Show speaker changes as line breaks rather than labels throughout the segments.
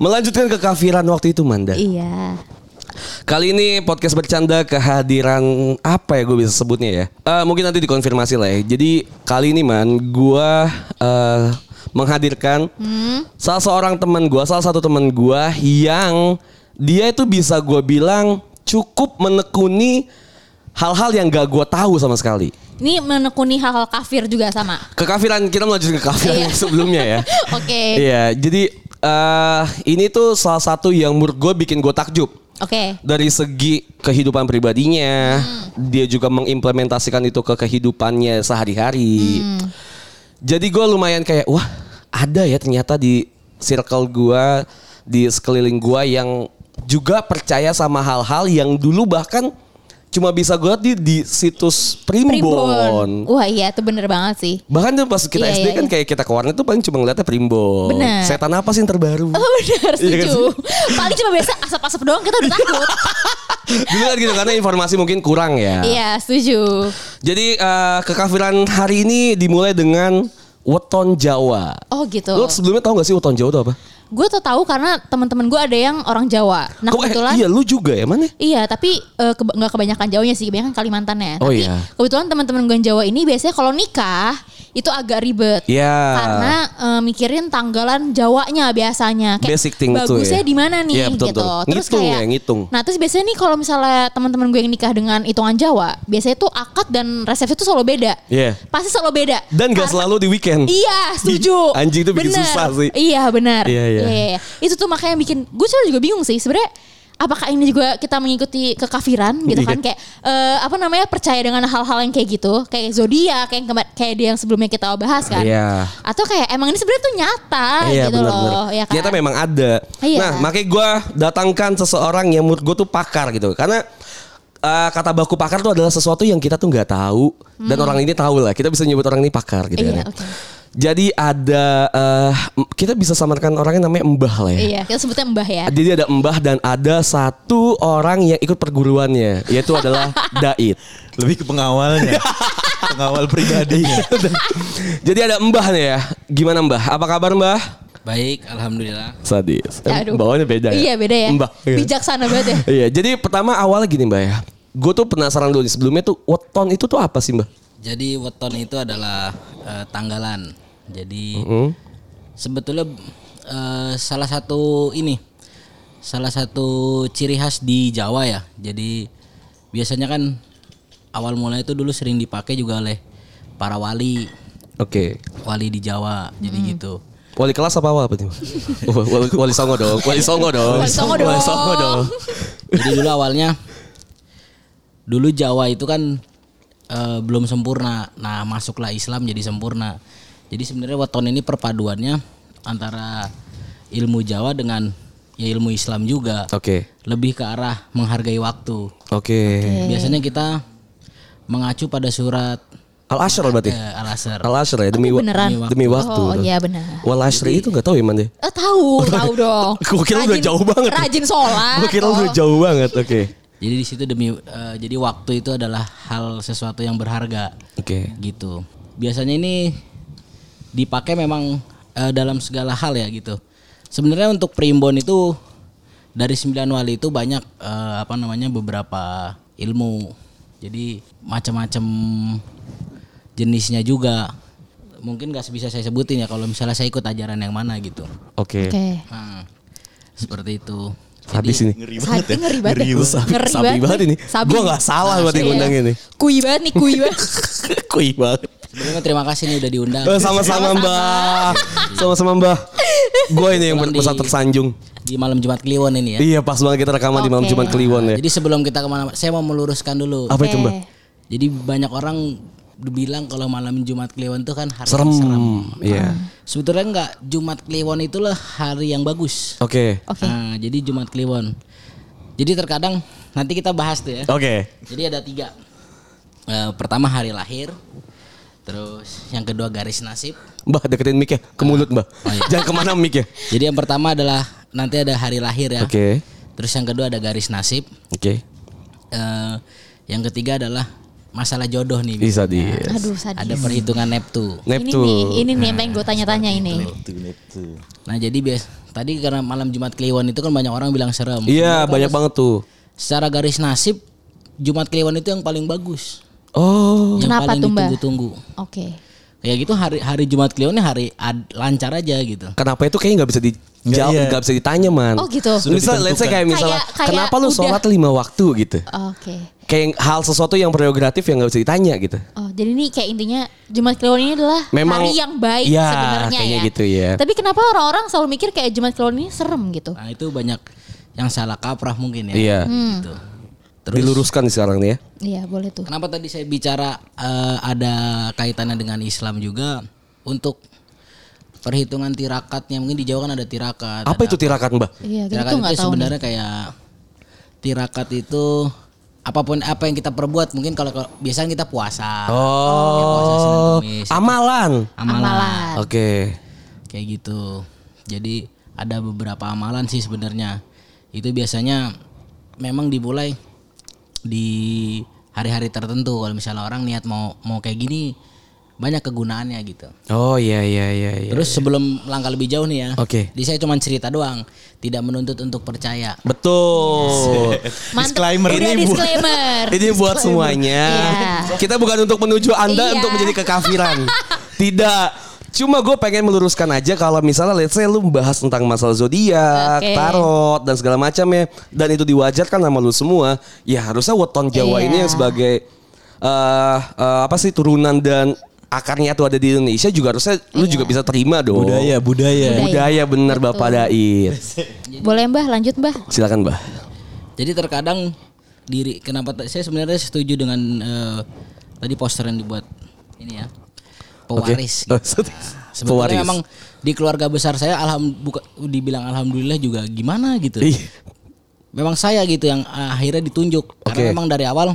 Melanjutkan kekafiran waktu itu Manda.
Iya.
Kali ini podcast bercanda kehadiran apa ya gue bisa sebutnya ya? Eh, mungkin nanti dikonfirmasi lah ya. Jadi kali ini man, gue eh, menghadirkan
Hmm,
salah seorang teman gue, salah satu teman gue yang dia itu bisa gue bilang cukup menekuni hal-hal yang gak gue tahu sama sekali.
Ini menekuni hal-hal kafir juga sama.
Kekafiran kita melanjutkan kekafiran
Iya.
yang sebelumnya ya.
Oke.
Iya, jadi eh ini tuh salah satu yang menurut gue bikin gue takjub.
Oke.
dari segi kehidupan pribadinya,
Hmm.
dia juga mengimplementasikan itu ke kehidupannya sehari-hari.
Hmm.
Jadi gue lumayan kayak wah ada ya ternyata di circle gue, di sekeliling gue yang juga percaya sama hal-hal yang dulu bahkan cuma bisa gue di di situs Primbon.
Primbon. Wah iya itu bener banget sih.
Bahkan tuh pas kita
Iya,
SD
iya,
kan
iya.
kayak kita ke warnet tuh paling cuma ngeliatnya Primbon.
Benar.
Setan apa sih yang terbaru?
Oh bener
Iya kan
setuju. Paling cuma biasa asap-asap doang kita udah takut.
Dulu kan gitu karena informasi mungkin kurang ya.
Iya setuju.
Jadi eh, kekafiran hari ini dimulai dengan weton Jawa.
Oh gitu.
Lo sebelumnya tahu gak sih weton Jawa itu apa?
Gue tuh tahu karena teman-teman gue ada yang orang Jawa. Nah
Kok- eh,
kebetulan
iya lu juga ya mana?
Iya, tapi eh, keba- nggak kebanyakan jauhnya sih, kebanyakan Kalimantannya.
Oh,
tapi
iya.
kebetulan teman-teman gue yang Jawa ini biasanya kalau nikah itu agak ribet.
Iya.
Karena eh, mikirin tanggalan Jawanya biasanya.
Basic thing itu ya.
bagusnya di mana nih
Iya, betul,
gitu.
betul. Ngitung ya, ngitung.
Nah, terus biasanya nih kalau misalnya teman-teman gue yang nikah dengan hitungan Jawa, biasanya tuh akad dan resepsi tuh selalu beda.
Iya.
Pasti selalu beda.
Dan gak
Karena-
selalu di weekend.
Iya, setuju.
Ih, anjing itu bikin
Bener.
susah sih.
Iya, benar.
Iya, iya.
Itu tuh makanya bikin gue sebenarnya juga bingung sih sebenarnya apakah ini juga kita mengikuti kekafiran gitu
Iya.
kan kayak eh, apa namanya percaya dengan hal-hal yang kayak gitu, kayak zodiak, kayak yang kema- kayak dia yang sebelumnya kita bahas kan.
Iya.
Atau kayak emang ini sebenarnya tuh nyata
Iya
gitu
benar-benar.
loh, ya kan?
Ternyata memang ada.
Iya.
Nah makanya gue datangkan seseorang yang menurut gue tuh pakar gitu. Karena eh, kata baku pakar tuh adalah sesuatu yang kita tuh nggak tahu dan orang ini tahu lah. Kita bisa nyebut orang ini pakar gitu
Hmm. Iya,
kan. ya.
oke.
Jadi ada eh, m- kita bisa samarkan orangnya namanya Mbah lah ya.
Iya, kita sebutnya Mbah ya.
Jadi ada Mbah dan ada satu orang yang ikut perguruannya, yaitu adalah Dait.
Lebih ke pengawalnya. Pengawal pribadinya.
Jadi ada Mbah nih ya. Gimana Mbah? Apa kabar Mbah?
Baik, alhamdulillah.
Sadis. Em,
Aduh.
Bawahnya beda ya.
Iya, beda ya.
Mbah. Iya.
Bijaksana banget ya.
Iya, jadi pertama awalnya gini Mbah ya. Gue tuh penasaran dulu nih, sebelumnya tuh weton itu tuh apa sih Mbah?
Jadi weton itu adalah eh, tanggalan. Jadi sebetulnya eh, salah satu ini salah satu ciri khas di Jawa ya. Jadi biasanya kan awal mulanya itu dulu sering dipakai juga oleh para wali,
Oke.
wali di Jawa. Jadi gitu.
Wali kelas apa apa nih? Mbah? wali, wali songo dong. Wali songo dong.
Wali songo dong.
Wali songo dong.
Jadi dulu awalnya dulu Jawa itu kan eh, belum sempurna. Nah, masuklah Islam jadi sempurna. Jadi sebenarnya weton ini perpaduannya antara ilmu Jawa dengan ya ilmu Islam juga.
Oke.
Lebih ke arah menghargai waktu.
Oke.
Biasanya kita mengacu pada surat
Al Ashr berarti.
eh, Al-Asr.
Al Ashr ya demi, wa-
beneran?
demi waktu.
Oh, iya benar.
Wal Ashr itu nggak tahu ya Mbah?
Eh tahu, tahu dong.
Gua kira lu udah
Rajin-
jauh banget.
Rajin sholat.
Gue kira
oh.
udah jauh banget. Oke.
Jadi di situ demi eh, jadi waktu itu adalah hal sesuatu yang berharga.
Oke.
gitu. Biasanya ini dipakai memang eh, dalam segala hal ya gitu. Sebenarnya untuk primbon itu dari sembilan wali itu banyak eh, apa namanya beberapa ilmu. Jadi macam-macam jenisnya juga. Mungkin nggak bisa saya sebutin ya kalau misalnya saya ikut ajaran yang mana gitu.
Oke.
Oke.
Hmm, seperti itu.
Habis ini.
Ngeri banget
Sabi
ya.
ngeri banget. ya. Ngeri
Sabi banget ini.
Sabi.
Gue nggak salah buat
Iya.
diundang ini.
Kui banget nih, kui banget.
Kui banget.
Sebelumnya terima kasih nih udah diundang.
Eh, Sama-sama mbah. Sama-sama mbah. Gue ini yang
Pulang di-
merasa tersanjung.
Di malam Jumat Kliwon ini ya.
Iya pas banget kita rekaman di malam
Oke.
Jumat Kliwon ya.
Jadi sebelum kita kemana, saya mau meluruskan dulu.
Apa itu mbah?
Jadi banyak orang bilang kalau malam Jumat Kliwon itu kan hari
Serem.
yang
Ah.
Iya.
Sebetulnya enggak Jumat Kliwon itulah hari yang bagus.
Oke.
Oke.
Nah, jadi Jumat Kliwon. Jadi terkadang nanti kita bahas tuh ya.
Oke.
Jadi ada tiga. Eh, pertama hari lahir, terus yang kedua garis nasib.
Mbah deketin mic ya
Ah.
ke mulut mbah.
Oh, iya.
Jangan kemana mic ya.
Jadi yang pertama adalah nanti ada hari lahir ya.
Oke.
Terus yang kedua ada garis nasib.
Oke.
Eh, yang ketiga adalah masalah jodoh nih.
Ih,
biasanya.
sadis.
Aduh sadis.
Ada perhitungan neptu.
ini
Neptune.
nih, ini nih yang pengen gue tanya-tanya
gitu.
ini.
Tuh, tuh.
Nah jadi bias tadi karena malam Jumat Kliwon itu kan banyak orang bilang serem.
Iya, banyak banget tuh.
Secara garis nasib Jumat Kliwon itu yang paling bagus.
Oh,
Yang
Kenapa
paling
tuh, Mbak?
ditunggu-tunggu.
Oke.
Kayak gitu hari hari Jumat Kliwon ini hari ad- lancar aja gitu.
kenapa itu kayaknya nggak bisa dijawab,
Iya, iya.
nggak bisa ditanya man.
Oh, gitu.
Sudah Misal, let's say kayak misalnya,
Kayak- kayak
kenapa lu
udah.
sholat lima waktu gitu?
Oke.
Kayak hal sesuatu yang prerogatif yang nggak bisa ditanya gitu.
Oh, jadi ini kayak intinya Jumat Kliwon ini adalah
Memang-
hari yang baik
Iya,
sebenarnya
kayaknya
ya.
gitu ya.
Tapi kenapa orang-orang selalu mikir kayak Jumat Kliwon ini serem gitu?
Nah itu banyak yang salah kaprah mungkin ya.
Iya.
Hmm.
Gitu. Terus
Diluruskan sekarang nih ya.
Iya, boleh tuh.
kenapa tadi saya bicara eh, ada kaitannya dengan Islam juga untuk perhitungan tirakatnya mungkin di Jawa kan ada tirakat.
Apa itu tirakat mbak?
Iya, gitu
Tirakat
nggak
itu
tahu. nih.
sebenarnya kayak tirakat itu apapun apa yang kita perbuat mungkin kalau, kalau biasanya kita puasa. Ya, puasa Ah. Senin
Oh,
Kemis,
amalan.
amalan
Amalan.
Oke.
kayak gitu. Jadi ada beberapa amalan sih sebenarnya. Itu biasanya memang dimulai di hari-hari tertentu. Kalau misalnya orang niat mau mau kayak gini banyak kegunaannya gitu.
Oh iya iya iya. iya.
Terus sebelum langkah lebih jauh nih ya.
Oke.
Di saya cuma cerita doang, tidak menuntut untuk percaya.
Betul.
Mantep.
Disclaimer.
Udah
Ini buat-
disclaimer.
Ini buat semuanya.
Iya.
Kita bukan untuk menuju Anda
Iya.
untuk menjadi kekafiran. Tidak. Cuma gue pengen meluruskan aja kalau misalnya let's say lu membahas tentang masalah zodiak,
Oke.
tarot dan segala macam ya dan itu diwajarkan sama lu semua, ya harusnya weton Jawa
Iya.
ini yang sebagai eh eh, apa sih turunan dan akarnya tuh ada di Indonesia juga harusnya lu juga bisa terima dong.
Budaya, budaya.
Budaya.
Budaya benar Bapak Dait.
Boleh Mbah, lanjut Mbah.
Silakan, Mbah.
Jadi terkadang diri kenapa t- saya sebenarnya setuju dengan eh, tadi poster yang dibuat ini ya. Pewaris. gitu. Sebetulnya
Eh, Pewaris.
memang di keluarga besar saya alham buka- dibilang alhamdulillah juga gimana gitu.
Ih.
Memang saya gitu yang akhirnya ditunjuk karena
Oke.
memang dari awal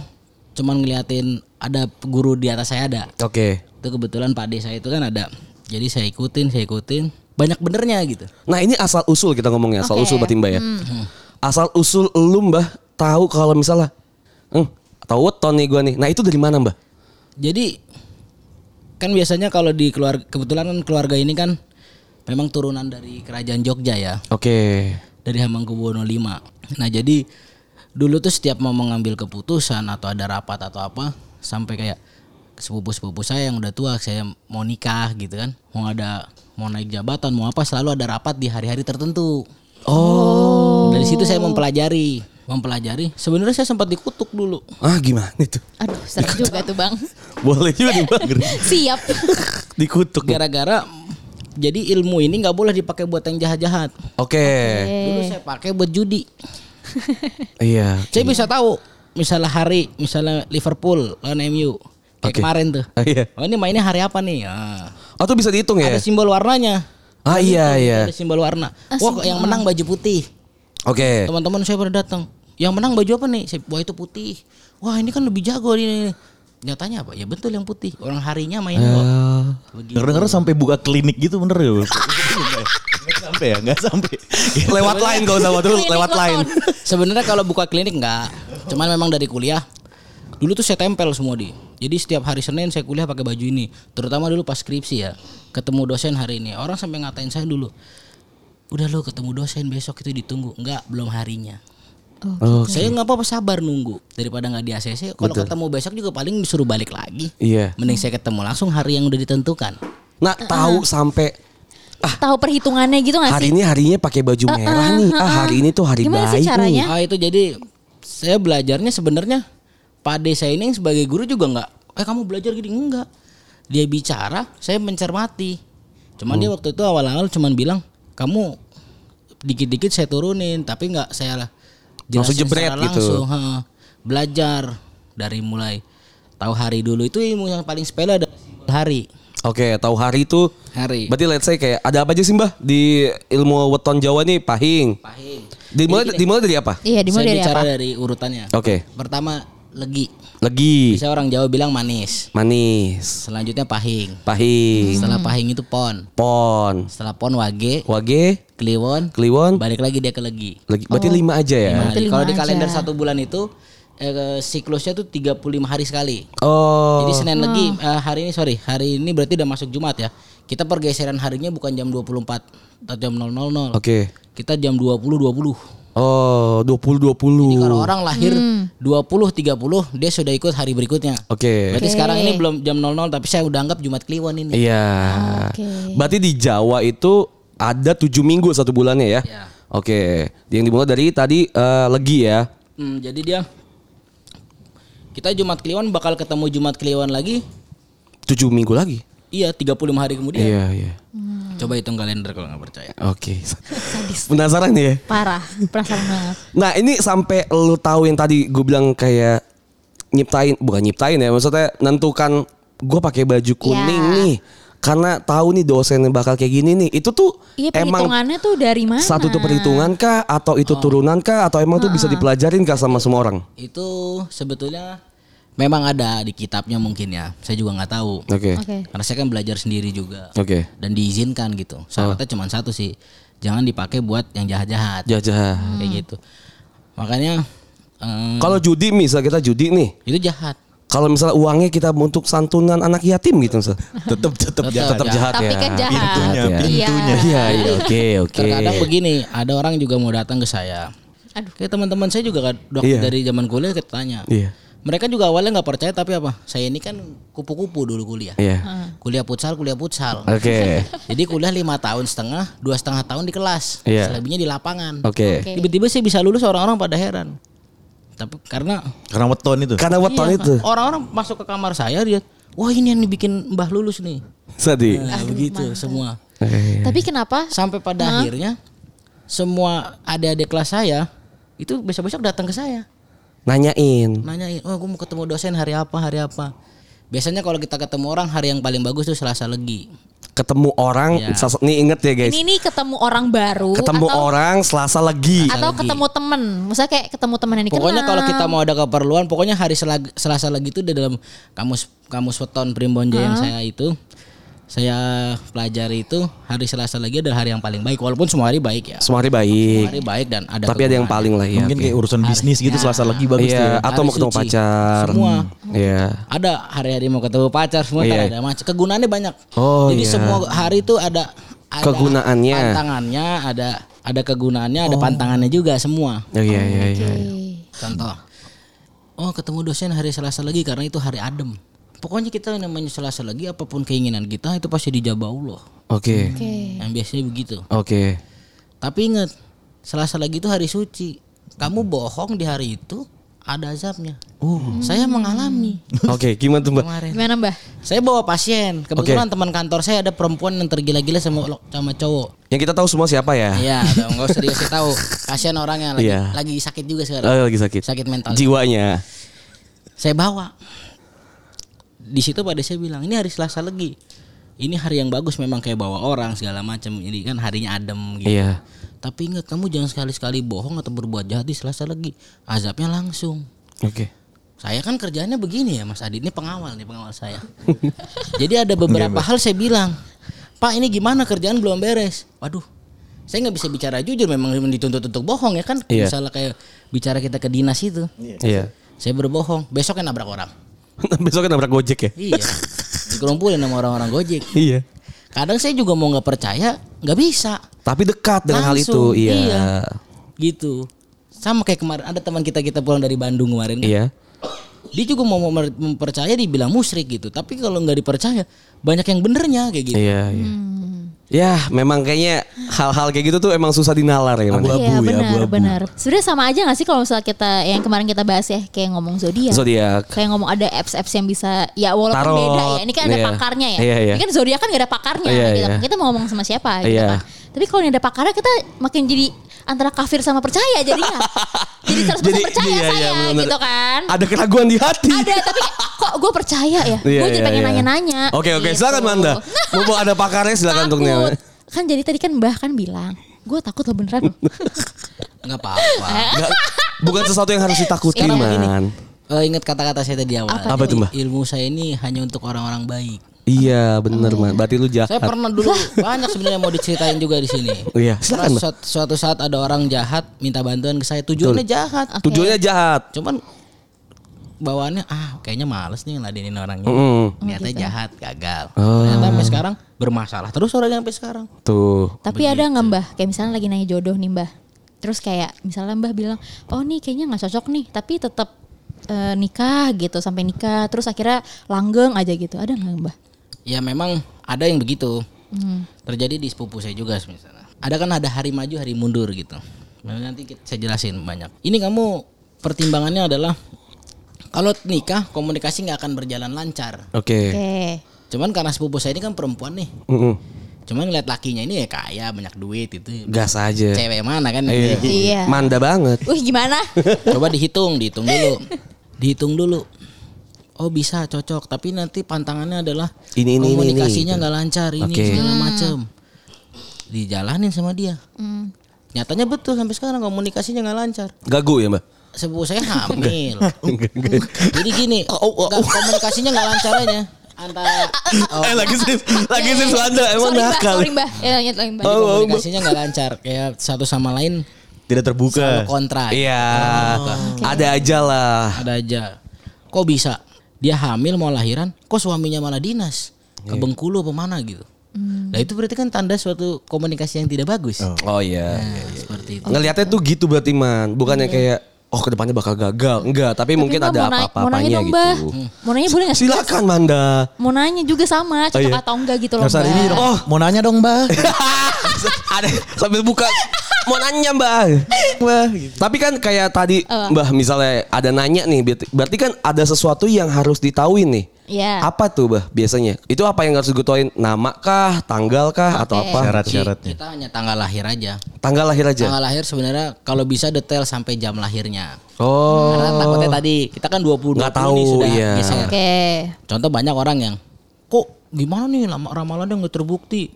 cuman ngeliatin ada guru di atas saya ada.
Oke.
Itu kebetulan Pak D saya itu kan ada. Jadi saya ikutin, saya ikutin. Banyak benernya gitu.
Nah ini asal usul kita ngomongnya asal
Oke. Hmm.
usul berarti mbak ya.
Hmm.
Asal usul lu mbah tahu kalau misalnya, hmm, tahu weton nih gue nih. Nah itu dari mana mbah?
Jadi kan biasanya kalau di keluarga kebetulan kan keluarga ini kan memang turunan dari kerajaan Jogja ya.
Oke.
dari Hamengkubuwono V. Nah, jadi dulu tuh setiap mau mengambil keputusan atau ada rapat atau apa sampai kayak sepupu-sepupu saya yang udah tua saya mau nikah gitu kan. Mau ada mau naik jabatan, mau apa selalu ada rapat di hari-hari tertentu. Oh. Dari situ saya mempelajari, mempelajari. Sebenarnya saya sempat dikutuk dulu.
Ah gimana itu?
Aduh, serem
Gitu.
juga tuh Bang.
Boleh juga nih mbah.
Siap.
Dikutuk. ya. Oke.
Gara-gara jadi ilmu ini nggak boleh dipakai buat yang jahat-jahat.
Eh.
Dulu saya pakai buat judi.
Iya.
Saya bisa tahu misalnya hari misalnya Liverpool lawan MU
Oke.
kayak kemarin tuh.
Ah, iya.
Oh ini mainnya hari apa nih? Ah.
Oh tuh bisa dihitung ya?
Ada simbol warnanya.
Ah iya iya.
Ada simbol warna. Wah kok yang menang baju putih.
Oke.
Teman-teman saya pada datang. Yang menang baju apa nih? Saya, Wah itu putih. Wah ini kan lebih jago ini. Nyatanya apa? Ya betul yang putih. Orang harinya main kok.
Ah.
Begitu.
Dengar-dengar sampai buka klinik gitu bener ya? Nggak sampai ya? Nggak sampai.
Lewat lain gak usah dulu
Klinik
lewat lain.
weton.
Sebenarnya kalau buka klinik enggak. Cuman memang dari kuliah. Dulu tuh saya tempel semua di. Jadi setiap hari Senin saya kuliah pakai baju ini. Terutama dulu pas skripsi ya. Ketemu dosen hari ini. Orang sampai ngatain saya dulu. Udah lo ketemu dosen besok itu ditunggu. Enggak, belum harinya.
Oh,
Saya nggak apa-apa sabar nunggu daripada nggak di ACC. Kalau ketemu besok juga paling disuruh balik lagi.
Iya.
Mending saya ketemu langsung hari yang udah ditentukan.
Nah
Ah.
tahu sampai
Tahu perhitungannya gitu gak sih?
Ah. hari ini harinya pakai baju merah nih. Ah hari ini tuh hari
Gimana
baik
sih caranya?
Ah itu jadi saya belajarnya sebenarnya Pak Ade saya ini sebagai guru juga nggak. Eh kamu belajar gini enggak? Dia bicara, saya mencermati. Cuman
Oh.
dia waktu itu awal-awal cuman bilang kamu dikit-dikit saya turunin, tapi nggak saya
Langsung
jelasin
jebret
secara
gitu.
langsung. Ha, belajar dari mulai tahu hari dulu itu ilmu yang paling sepele ada hari.
Oke, tahu hari itu
Hari.
Berarti let's say kayak ada apa aja sih Mbah di ilmu weton Jawa nih pahing.
Pahing.
Dimulai dimulai dari apa?
Iya, dimulai
saya
dari
bicara
apa?
dari urutannya.
Oke.
Pertama legi.
Legi,
Bisa orang Jawa bilang manis.
manis,
Selanjutnya pahing.
pahing, Hmm.
Setelah pahing itu pon.
pon,
Setelah pon wage,
wage,
kliwon,
kliwon,
balik lagi dia ke legi.
legi. Berarti lima aja ya.
Nah,
Berarti
di-
Oh,
kalau
lima
di kalender
aja.
satu bulan itu eh, siklusnya tuh 35 hari sekali.
Oh.
Jadi Senin lagi eh, hari ini sorry, hari ini berarti udah masuk Jumat ya. Kita pergeseran harinya bukan jam 24 atau jam 000.
Oke.
Kita jam 20 20.
Oh, 20
Jadi kalau
20.
orang lahir 20 30 dia sudah ikut hari berikutnya.
Hmm. Oke.
Berarti
Oke.
sekarang ini belum jam 00 tapi saya udah anggap Jumat Kliwon ini.
Iya.
Oke.
Berarti di Jawa itu ada 7 minggu satu bulannya ya.
Iya.
Oke. Yang dimulai dari tadi eh, legi ya.
Hmm, jadi dia kita Jumat Kliwon bakal ketemu Jumat Kliwon lagi.
7 minggu lagi.
Iya, 35 hari kemudian. Hmm.
Iya, iya.
Coba hitung kalender kalau nggak percaya.
Oke. Penasaran nih ya?
Parah, penasaran banget.
Nah ini sampai lu tahu yang tadi gue bilang kayak nyiptain bukan nyiptain ya maksudnya nentukan gue pakai baju kuning
Ya.
nih karena tahu nih dosennya bakal kayak gini nih itu tuh
Iya
emang
perhitungannya tuh dari mana?
satu tuh perhitungan kah atau itu turunan kah atau emang tuh bisa dipelajarin kah sama semua orang?
Itu sebetulnya memang ada di kitabnya mungkin ya. Saya juga nggak tahu.
Oke
Oke.
Karena saya kan belajar sendiri juga
oke Oh.
dan diizinkan gitu. Syaratnya cuma satu sih. Jangan dipakai buat yang jahat-jahat
jajah.
kayak gitu. Makanya eh,
Kalau judi misal kita judi nih
itu jahat.
kalau misalnya uangnya kita untuk santunan anak yatim gitu misal
Tetep tetep jahat.
tetap jahat
Tapi
ya.
kan jahat.
Pintunya,
Iya.
pintunya.
Iya iya oke oke.
Terkadang begini, ada orang juga mau datang ke saya.
Aduh.
Kayak teman-teman saya juga kan, dok
Iya.
dari zaman kuliah ketanya.
Iya
Mereka juga awalnya nggak percaya tapi apa? Saya ini kan kupu-kupu dulu kuliah.
iya
Kuliah futsal, kuliah futsal.
oke
Jadi kuliah lima tahun setengah, dua setengah tahun di kelas,
Iya.
selebihnya di lapangan.
oke.
Oke.
Tiba-tiba saya bisa lulus orang-orang pada heran. Tapi karena
Karena weton itu.
Karena weton itu
orang-orang masuk ke kamar saya dia, wah ini yang dibikin Mbah lulus nih.
Sadi.
Nah, begitu semua.
Tapi kenapa?
Sampai pada akhirnya semua adik-adik kelas saya itu besok-besok datang ke saya.
Nanyain.
Nanyain, "Oh, gue mau ketemu dosen hari apa? Hari apa?" Biasanya kalau kita ketemu orang hari yang paling bagus tuh Selasa Legi.
Ketemu orang,
Iya.
sas- nih inget ya guys.
Ini nih ketemu orang baru
ketemu
atau
orang Selasa legi.
atau ketemu temen Misalnya kayak ketemu temen yang dikenal
Pokoknya kalau kita mau ada keperluan, pokoknya hari Selag- Selasa lagi itu di dalam kamus kamus weton Primbon Jaya yang saya itu saya pelajari itu hari Selasa lagi adalah hari yang paling baik walaupun semua hari baik ya.
Semua hari baik,
Hari baik dan ada
Iya. tapi ada yang paling lah ya.
Mungkin kayak urusan bisnis gitu selasa lagi bagus tuh.
Iya,
ya.
atau
Hari
mau ketemu
suci.
pacar.
Semua.
Iya.
ada hari-hari mau ketemu pacar semua ntar
Iya.
ada macam kegunaannya banyak.
Oh,
Jadi
iya.
semua hari itu ada, ada
Kegunaannya.
Pantangannya ada ada kegunaannya, ada pantangannya juga semua.
Oh, iya iya iya.
Contoh. Oh, ketemu dosen hari Selasa lagi karena itu hari adem. Pokoknya kita yang namanya Selasa lagi apapun keinginan kita itu pasti dijabah Allah.
Oke.
Oke.
Yang biasanya begitu.
Oke.
Tapi ingat, Selasa lagi itu hari suci. Kamu bohong di hari itu ada azabnya.
Oh.
Saya mengalami
Oke, gimana tuh, Mbak?
kemarin.
Gimana Mbah?
Saya bawa pasien. Kebetulan teman kantor saya ada perempuan yang tergila-gila sama lo- sama cowok.
Yang kita tahu semua siapa ya?
Iya, dong enggak usah dikasih tahu. Kasihan orangnya lagi
Iya.
lagi sakit juga sekarang.
Oh, lagi sakit.
Sakit mental.
Jiwanya.
saya bawa di situ pada saya bilang ini hari Selasa lagi ini hari yang bagus memang kayak bawa orang segala macam ini kan harinya adem gitu
Iya.
tapi ingat kamu jangan sekali-sekali bohong atau berbuat jahat di Selasa lagi azabnya langsung
Oke.
saya kan kerjanya begini ya Mas Adit ini pengawal nih pengawal saya jadi ada beberapa hal saya bilang Pak ini gimana kerjaan belum beres waduh saya nggak bisa bicara jujur memang dituntut untuk bohong ya kan
Iya.
misalnya kayak bicara kita ke dinas itu
Iya.
saya berbohong besoknya nabrak orang
Besok kan nabrak Gojek ya?
Iya. Dikerumpulin sama orang-orang Gojek.
Iya.
Kadang saya juga mau nggak percaya, nggak bisa.
Tapi dekat dengan hal itu,
Langsung,
iya.
iya. Gitu. Sama kayak kemarin ada teman kita kita pulang dari Bandung kemarin. kan.
Iya.
Dia juga mau memer- mempercaya dibilang musyrik gitu. Tapi kalau nggak dipercaya, banyak yang benernya kayak gitu.
Iya, iya.
Hmm.
Ya, memang kayaknya hal-hal kayak gitu tuh emang susah dinalar ya, Man.
Abu-abu
Iya
ya,
benar
abu-abu.
benar. Sebenarnya sama aja gak sih kalau misalnya kita yang kemarin kita bahas ya kayak ngomong zodiak.
Zodiak.
Kayak ngomong ada apps-apps yang bisa ya
Tarot,
walaupun beda ya. Ini kan ada
iya.
pakarnya ya.
Iya, iya.
Ini kan zodiak kan gak ada pakarnya
Iya,
gitu.
iya.
Kita mau ngomong sama siapa gitu
Iya.
kan. Tapi kalau ini ada pakarnya kita makin jadi antara kafir sama percaya jadinya. jadi 100% percaya
iya, iya,
saya
bener-bener.
gitu kan.
Ada keraguan di hati.
Ada tapi kok gue percaya ya?
Iya,
gue jadi
iya,
pengen
iya.
nanya-nanya.
Oke oke,
Gitu.
silakan Manda. Mumpung ada pakarnya silakan untuk
Takut.
nih.
Kan jadi tadi kan Mbah kan bilang, gue takut lo beneran.
Nggak apa-apa.
Nggak- bukan sesuatu yang harus ditakuti,
Sekarang begini.
man.
Eh, ingat kata-kata saya tadi awal.
Apa tuh, Mbah?
Ilmu saya ini hanya untuk orang-orang baik.
Iya, bener man. Berarti lu
Saya
jahat.
pernah dulu banyak sebenarnya mau diceritain juga di sini.
Iya, silakan,
Pernah Suatu, suatu saat ada orang jahat minta bantuan ke saya. Tujuannya jahat.
Tujuannya jahat.
Cuman bawaannya ah kayaknya males nih ngeladenin orangnya.
Mm-mm.
Niatnya jahat, gagal.
Oh.
Ternyata sampai sekarang bermasalah terus orangnya sampai sekarang.
Tuh.
Tapi ada nggak mbah? Kayak misalnya lagi nanya jodoh nih mbah. Terus kayak misalnya mbah bilang, oh nih kayaknya nggak cocok nih. Tapi tetap eh, nikah gitu sampai nikah. Terus akhirnya langgeng aja gitu. Ada nggak mbah?
Ya memang ada yang begitu.
Hmm.
Terjadi di sepupu saya juga misalnya. Ada kan ada hari maju, hari mundur gitu. Nah, Nanti kita- saya jelasin banyak. Ini kamu pertimbangannya adalah kalau nikah komunikasi nggak akan berjalan lancar.
Oke.
Oke.
Cuman karena sepupu saya ini kan perempuan nih.
Mm-mm.
Cuman ngeliat lakinya ini ya kaya, banyak duit itu.
Gas aja.
Cewek mana kan?
Iya.
Manda banget.
Wih gimana?
Coba dihitung, dihitung dulu. Dihitung dulu. Oh bisa cocok, tapi nanti pantangannya adalah
Ini, ini, ini,
komunikasinya
ini, gitu.
nggak lancar ini
Oke.
segala macem. Dijalanin sama dia.
Hmm.
Nyatanya betul sampai sekarang komunikasinya nggak lancar.
Gagu ya mbak.
Sepupu saya hamil.
Oh.
Jadi gini,
Oh,
nggak- komunikasinya nggak lancar aja antara oh,
Eh lagi sih, lagi sih Belanda emang
sorry, mbah,
nakal.
sorry mbah. Ya, lanjut lagi mbah.
Oh.
komunikasinya nggak lancar kayak satu sama lain
Tidak terbuka.
selalu kontra.
Iya.
Oh,
Ada aja lah.
ada aja kok bisa dia hamil mau lahiran kok suaminya malah dinas
Iya.
ke Bengkulu apa mana gitu nah itu berarti kan tanda suatu komunikasi yang tidak bagus
Oh iya.
Nah, seperti itu
Ngelihatnya tuh gitu berarti man, bukan yang kayak oh kedepannya bakal gagal. Enggak, tapi, mungkin
Mbah,
ada
Iya. mau na- Mau nanya
apa-apa-apanya
dong mbah.
gitu.
Mau nanya boleh nggak?
Silakan Manda.
Mau nanya juga sama, cocok
Oh, iya.
atau enggak gitu loh
Nggak usah ini dong.
mbah.
Oh, mau nanya dong, Mbak.
ada sambil buka mau nanya mbak tapi kan kayak tadi
Eh.
mbah misalnya ada nanya nih berarti- berarti kan ada sesuatu yang harus ditahuin nih
Iya.
apa tuh mbah biasanya itu apa yang harus digutuin nama kah tanggal kah atau
Oke.
apa
Syarat-syaratnya.
kita hanya tanggal lahir aja
tanggal lahir aja
tanggal lahir sebenarnya kalau bisa detail sampai jam lahirnya
oh
karena takutnya tadi kita kan 20
Nggak
20 nih
tahu,
sudah
iya.
geser.
Oke.
Contoh banyak orang yang kok gimana nih lama ramalannya nggak terbukti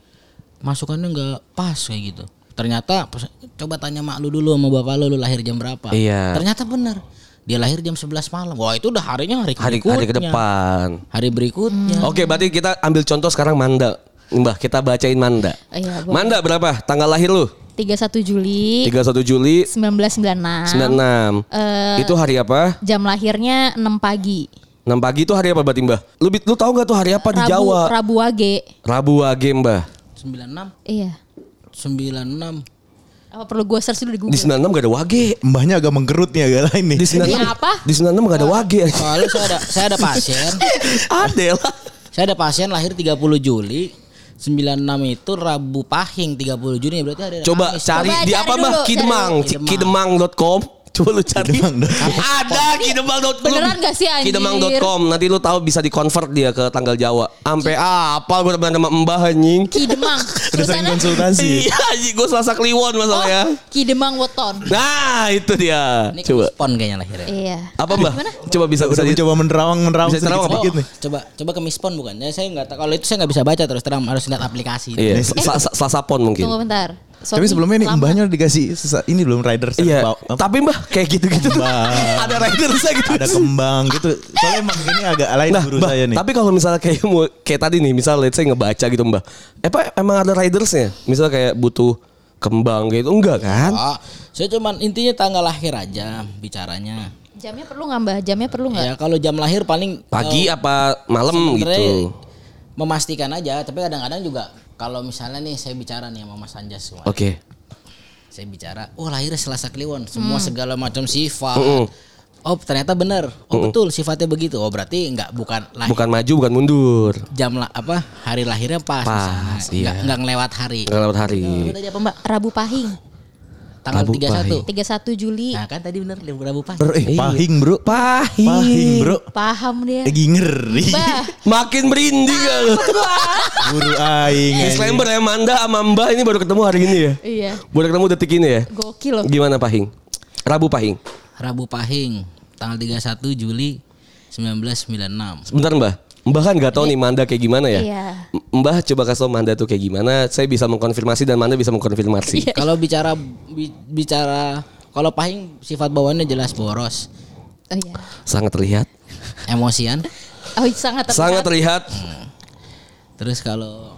masukannya nggak pas kayak gitu. Ternyata pas- coba tanya mak lu dulu sama bapak lu, lu lahir jam berapa.
Iya.
Ternyata bener dia lahir jam 11 malam. Wah itu udah harinya hari
hari
berikutnya.
hari ke depan
Hari berikutnya.
oke berarti kita ambil contoh sekarang manda mbah kita bacain manda
Iya, boleh.
manda berapa tanggal lahir lu
31 Juli
31 Juli
1996.
96
Eh,
itu hari apa
jam lahirnya 6 pagi.
6 pagi itu hari apa berarti Mbah? Lu, bit- lu tahu gak tuh hari apa di
Rabu,
Jawa?
Rabu Wage.
Rabu Wage Mbah.
96
Iya.
96.
Apa perlu gue search dulu di
Di
Google?
96 gak ada Wage.
Mbahnya agak mengkerut nih agak lain nih.
Di 96,
Iya, apa?
Di 96 gak ada Wage.
Soalnya saya ada saya ada pasien.
ada lah.
Saya ada pasien lahir 30 Juli. 96 itu Rabu Pahing 30 Juni berarti hari
Coba cari
Coba
di
cari
apa
dulu,
Mbah?
cari
Kidemang.
dulu.
C- Kidemang.com. Coba lu cari. ada kidemang.com.
Beneran nggak sih, anjir?
Kidemang.com. Nanti lu tahu bisa di-convert dia ke tanggal Jawa. Ampe apa gue bener sama Mbah anjing.
Kidemang.
Udah sering
Tulisannya-
konsultasi.
Iya anjing gue selasa kliwon
Oh,
masalahnya.
Kidemang Weton.
Nah itu dia.
Ini
Coba.
Pon kayaknya lahirnya.
Iya.
Apa Mbah?
Gimana?
Coba bisa
Udah
bisa di-
mencoba menerawang menerawang
Bisa terawang,
sedikit-sedikit nih.
Coba coba ke mispon bukan? Ya saya nggak tahu kalau itu saya nggak bisa baca terus terang harus lihat aplikasi.
Iya, Sa- sa- Selasa pon mungkin.
Tunggu bentar.
Tapi
Sorry,
sebelumnya nih
lama.
mbahnya udah dikasih sesa- ini belum rider set
Iya,
bau- apa,
tapi mbah kayak gitu-gitu tuh
Mbah.
ada ridersnya gitu.
ada kembang gitu. Soalnya emang ini agak lain
Nah,
guru
Mbah,
saya nih.
tapi kalau misalnya kayak mau kayak tadi nih, misal let's say ngebaca gitu mbah, apa emang ada ridersnya? Misal kayak butuh kembang gitu, enggak kan?
Oh.
Ah, saya cuman intinya tanggal lahir aja bicaranya.
Jamnya perlu nggak mbah? Jamnya perlu nggak?
Ya kalau jam lahir paling
Pagi
eh,
apa malam
sebenarnya
gitu?
Memastikan aja, tapi kadang-kadang juga kalau misalnya nih saya bicara nih sama Mas Anjas semua.
Oke.
Saya bicara, oh lahirnya Selasa Kliwon, semua segala macam sifat.
Mm-mm.
Oh ternyata benar, oh betul sifatnya begitu. Oh berarti nggak bukan lahir
Bukan maju, bukan mundur.
jam la- apa hari lahirnya pas,
Pas,
misalnya.
iya.
nggak nggak ngelewat hari.
Enggak lewat hari.
Itu tadi apa Mbak?
Rabu Pahing.
Tanggal
Rabu
31.
31 Juli.
Nah kan tadi bener libur Rabu Pahing.
Bro, eh, pahing bro,
Pahing.
pahing bro,
Iya. Paham dia.
lagi ngeri.
Mbah.
Makin merinding kan.
Guru aing. eh. anjing.
Disclaimer ya, Manda sama Mbah ini baru ketemu hari ini ya.
Iya.
Baru ketemu detik ini ya.
Gokil loh.
Gimana Pahing? Rabu Pahing.
Rabu Pahing tanggal 31 Juli 1996.
Sebentar Mbah. Mbah kan nggak tahu nih Manda kayak gimana ya.
Iya.
M- Mbah coba kasih tau Manda tuh kayak gimana. Saya bisa mengkonfirmasi dan Manda bisa
Iya.
mengkonfirmasi.
Kalau bicara bi- bicara kalau Pahing sifat bawaannya jelas boros,
Oh iya.
Sangat terlihat.
emosian.
Oh iya, sangat terlihat.
Sangat terlihat.
Terus kalau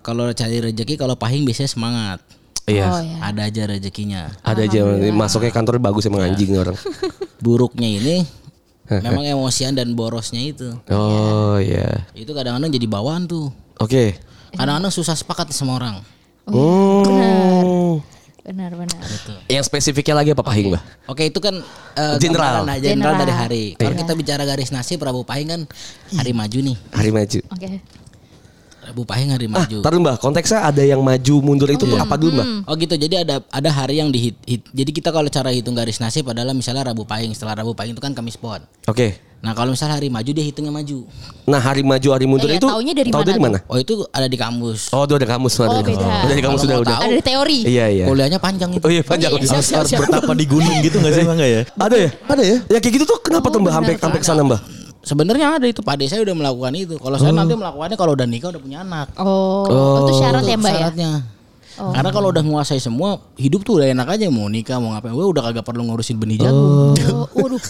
kalau cari rezeki kalau Pahing biasanya semangat.
Iya.
Oh iya.
Ada aja rezekinya.
Ada aja masuknya kantor bagus emang anjing nih orang.
Buruknya ini Memang emosian dan borosnya itu.
Oh iya.
Itu kadang-kadang jadi bawaan tuh.
Oke.
Iya.
Kadang-kadang susah sepakat sama orang.
Oh,
Hmm.
Benar-benar.
Yang spesifiknya lagi apa pahing, Mbah?
Oke itu kan eh,
General. Iya.
gambaran aja, general
General.
dari hari. Kalau kita bicara garis nasi Prabu Pahing kan hari maju nih.
Hari maju.
Oke.
Prabu Pahing hari
Ah,
maju.
taruh Mbah, konteksnya ada yang maju mundur itu
Hmm.
tuh apa dulu, Mbah?
Oh gitu. Jadi ada ada hari yang dihit. hit- Jadi kita kalau cara hitung garis nasib adalah misalnya Rabu Pahing. Setelah Rabu Pahing itu kan Kamis Pon.
Oke.
Nah kalau misalnya hari maju dia hitungnya maju.
Nah, hari maju hari mundur
Iya,
itu
taunya dari
tahu
mana
dari mana?
Oh itu ada di kampus.
Oh, udah ada kamus
Oh, beda.
Udah ada kamus
Kalau
sudah
mau
udah.
tahu,
Ada teori.
Iya, iya.
Kuliahnya panjang itu.
Oh iya, panjang.
Oh, iya, siap, siap,
Harus
siap.
bertapa di gunung gitu nggak sih Bang nggak ya?
Ada ya? Ada ya? Ya kayak gitu tuh kenapa tuh Mbah sampai sampai ke sana, Mbah?
Sebenarnya ada itu Pak Ade saya udah melakukan itu. Kalau
Oh.
saya nanti melakukannya kalau udah nikah udah punya anak.
Oh, itu syarat ya, Mbak ya?
Syaratnya. Karena kalau udah nguasai semua hidup tuh udah enak aja mau nikah mau ngapain gue udah kagak perlu ngurusin benih jagung.
Oh, waduh.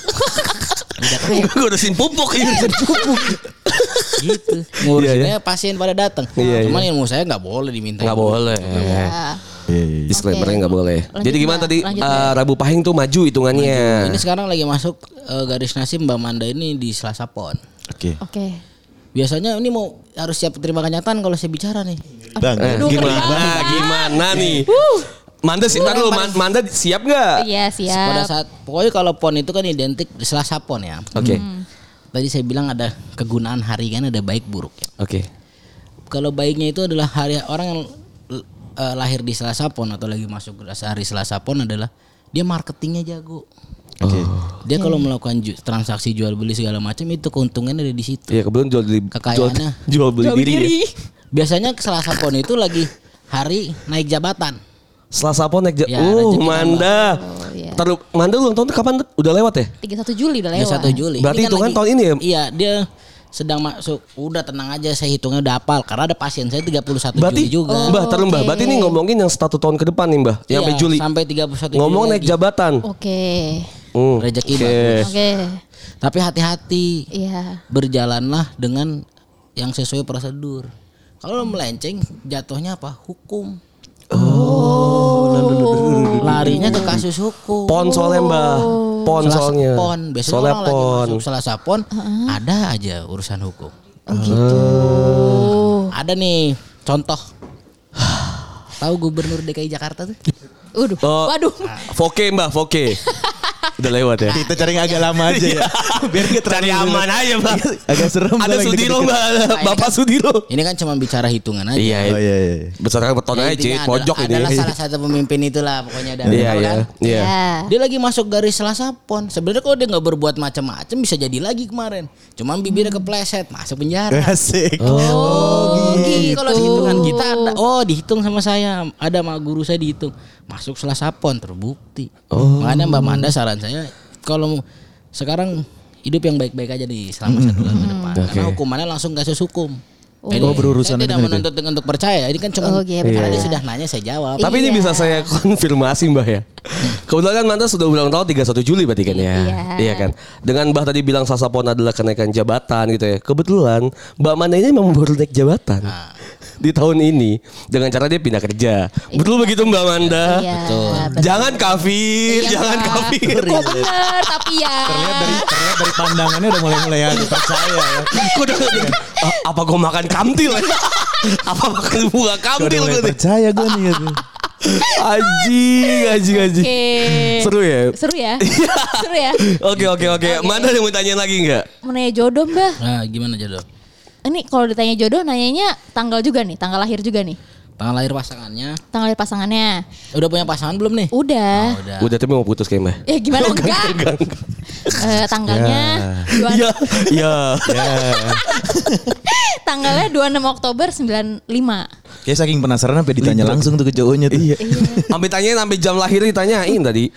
Gue Iya, udah pupuk iya. ini. pupuk.
gitu.
Iya,
Ngurusinnya pasien pada datang. Cuman ilmu saya nggak boleh diminta.
Enggak Iya, boleh.
Ya.
Iya, iya, iya.
Disclaimer-nya enggak boleh.
Lanjut,
Jadi gimana
Mbah.
tadi
Lanjut,
eh,
Mbah.
Rabu Pahing tuh maju hitungannya.
Ini sekarang lagi masuk eh, garis nasib Mbak Manda ini di Selasa Pon.
Oke.
Oke.
Biasanya ini mau harus siap terima kenyataan kalau saya bicara nih.
Bang.
Eh, gimana? Gimana nih? Manda sih, taruh Manda siap nggak?
Iya, siap.
Pada saat pokoknya kalau pon itu kan identik di Selasa pon ya.
Oke.
Tadi saya bilang ada kegunaan hari kan ada baik buruk ya.
Oke.
Kalau baiknya itu adalah hari orang yang eh, lahir di Selasa pon atau lagi masuk ke hari Selasa pon adalah dia marketingnya jago. Oh.
Oke.
Dia kalau melakukan ju- transaksi jual beli segala macam itu keuntungannya ada di situ.
Iya, kebetulan jual beli jual,
Kekayaannya.
jual beli diri. ya.
Biasanya Selasa pon itu lagi hari naik jabatan.
Selasa pon naik ja-
Ya,
Uh,
rezeki
Manda.
Oh, iya.
Taruh Manda ulang tahun tuh kapan? Udah lewat ya?
31 Juli udah lewat.
31 Juli.
Berarti hitungan
lagi-
tahun ini ya?
Iya, dia sedang masuk. Udah tenang aja saya hitungnya udah hafal karena ada pasien saya 31
Berarti
Juli juga.
Mbah, taruh Mbah.
oke.
Berarti nih ngomongin yang satu tahun ke depan nih, Mbah. Yang
Iya,
sampai Juli.
Sampai 31
Ngomong
Juli
naik
lagi.
jabatan.
Oke.
Hmm.
Rezeki
Oke.
bagus.
Oke.
Tapi hati-hati.
Iya.
Berjalanlah dengan yang sesuai prosedur. Kalau lo melenceng jatuhnya apa? Hukum. Oh. Larinya ke kasus hukum.
Pon soalnya, Mbah. Pon
Selasa
soalnya.
Oh. pon. Biasanya
Soalnya
orang
pon.
lagi masuk Selasa pon, ada aja urusan hukum.
Oh gitu.
Ada nih contoh. Tahu Gubernur DKI Jakarta tuh?
Waduh.
Oh.
Waduh.
Foke, Mbah, Foke. Udah lewat ya?
Kita cari yang agak lama aja ya. Biar kita
Cari
terang dulu.
aman aja, Mbah.
Agak serem.
Ada
Bang,
Sudiro,
dikit-dikit.
Mbak. Bapak Sudiro.
Nah, Ini kan cuma bicara hitungan aja.
Iya,
Oh iya iya.
Besar beton
Ya,
aja,
intinya
Cik.
adalah-
pojok ini.
Adalah salah satu pemimpin itulah pokoknya ada.
Iya,
Tahu
iya.
kan?
Iya.
Ya.
Dia lagi masuk garis Selasa Pon. Sebenarnya kalau dia nggak berbuat macam-macam bisa jadi lagi kemarin. Cuman bibirnya
Hmm.
kepleset, masuk
Eh.
penjara.
Asik.
Oh, gitu. Kalau hitungan kita ada, oh dihitung sama saya, ada sama guru saya dihitung. Masuk Selasa Pon terbukti.
Oh.
Makanya Mbak Manda saran saya kalau mau- sekarang hidup yang baik-baik aja di selama satu bulan
Hmm.
ke depan. Karena hukumannya langsung kasus hukum. Jadi,
Oh,
saya
berurusan
tidak
dengan itu.
menuntut untuk percaya. Ini kan cuma
Oh, iya,
karena
benar.
dia sudah nanya saya jawab.
Tapi ini
Iya.
bisa saya konfirmasi Mbah ya. Kebetulan kan Manta sudah ulang tahun 31 Juli berarti kan ya.
Iya.
kan. Dengan Mbah tadi bilang Sasapon adalah kenaikan jabatan gitu ya. Kebetulan Mbak Manda ini memang baru naik jabatan. Di tahun ini dengan cara dia pindah kerja. Betul begitu Mbak Manda?
Iya.
Jangan kafir, jangan kafir.
Kok bener tapi ya.
Terlihat dari terlihat dari pandangannya udah mulai-mulai agak percaya ya.
Gua udah- Ah, apa gue makan kamtil? ya?" apa makan bunga
Udah
kamtil
mulai
gue nih?
percaya gue nih gitu.
Anjing, anjing, anjing.
Oke.
Seru ya?
Seru ya. Seru ya.
Oke, oke, oke. Manda ada yang mau tanyain lagi nggak?
Menanya jodoh, Mbah.
Nah, gimana jodoh?
Ini kalau ditanya jodoh nanyanya tanggal juga nih, tanggal lahir juga nih.
Tanggal lahir pasangannya.
Tanggal lahir pasangannya.
Udah punya pasangan belum nih?
Udah.
Udah.
Udah tapi mau putus kayaknya.
Ya gimana enggak? Eh, tanggalnya dua,
Iya, iya.
tanggalnya 26 Oktober 95.
Kayak saking penasaran sampai ditanya langsung tuh ke cowoknya tuh. Gitu. Iya.
Sampai tanyain sampai jam lahir ditanyain tadi.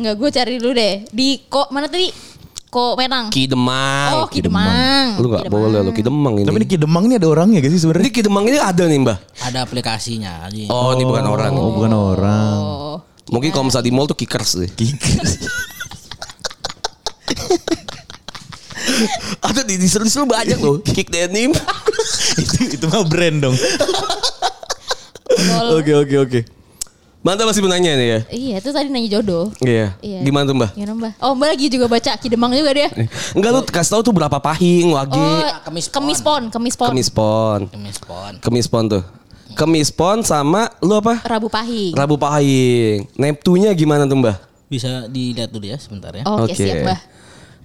Enggak, gue cari dulu deh. Di kok mana tadi? Kok Menang.
Ki Demang.
oh, Ki Demang.
Lu nggak
Ki Demang.
boleh lu Ki Demang ini.
Tapi di Kidemang ini ada orangnya gak sih
Jadi
sebenarnya?
Ki Demang ini ada nih, Mbah.
Ada aplikasinya. Ji.
Oh, ini bukan orang.
Oh, bukan orang.
Oh.
Mungkin kalau misalnya di mall tuh kickers deh. Ada di disuruh-disuruh banyak loh. Kick denim.
itu, itu mah brand dong.
Tol.
Oke oke oke.
Mbak Anta masih menanya nih ya.
Iya, itu tadi nanya jodoh.
Iya.
Iya.
Gimana tuh Mbak?
Gimana Mbak? Oh Mbak lagi juga baca Kidemang juga dia.
Enggak lu kasih tahu tuh berapa pahing, wage,
Oh,
Ah, Kemis pon.
kemis pon, kemis pon.
kemis pon.
Kemis pon.
Kemis pon tuh. Kemis pon sama lu apa?
Rabu Iya. Pahing.
Rabu pahing. Neptunya gimana tuh Mbak?
Bisa dilihat dulu ya sebentar ya.
Oke, siap Mbah.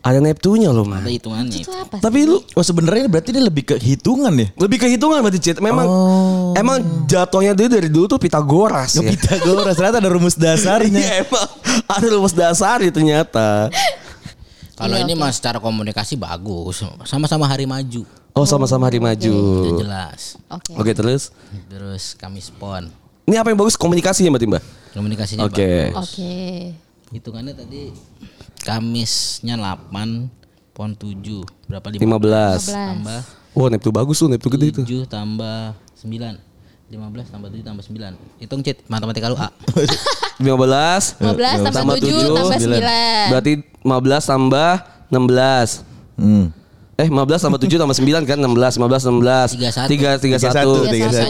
Ada Neptunya loh
Ada
Mbak.
hitungannya
Itu
itu.
apa? sih?
Tapi lu
Oh sebenarnya berarti dia lebih ke hitungan ya.
lebih kehitungan berarti Cid. Memang emang jatuhnya dia dari dulu tuh Pitagoras ya.
Pitagoras ternyata ada rumus dasarnya.
Iya emang ada rumus dasar ya ternyata.
Kalau ini mas secara komunikasi bagus. Sama-sama hari maju.
Oh sama-sama hari
Itu
maju.
jelas.
Oke.
Oke terus.
Terus Kamis pon.
Ini apa yang bagus komunikasinya berarti Mbak?
Iya,
Komunikasinya
Oke.
bagus.
Oke.
Hitungannya tadi Kamisnya 8, pon 7. Berapa
15.
15.
Tambah
Wah Neptu bagus tuh Neptu gede itu.
7 tambah 9. 15 tambah 7 tambah 9. Hitung cit matematika lu A.
15
15 tambah tujuh, tambah sembilan.
Berarti 15 tambah 16.
Hmm.
Eh 15 tambah 7 tambah 9 kan 16 15 16 3 31
31.
Tiga
satu.
Sisa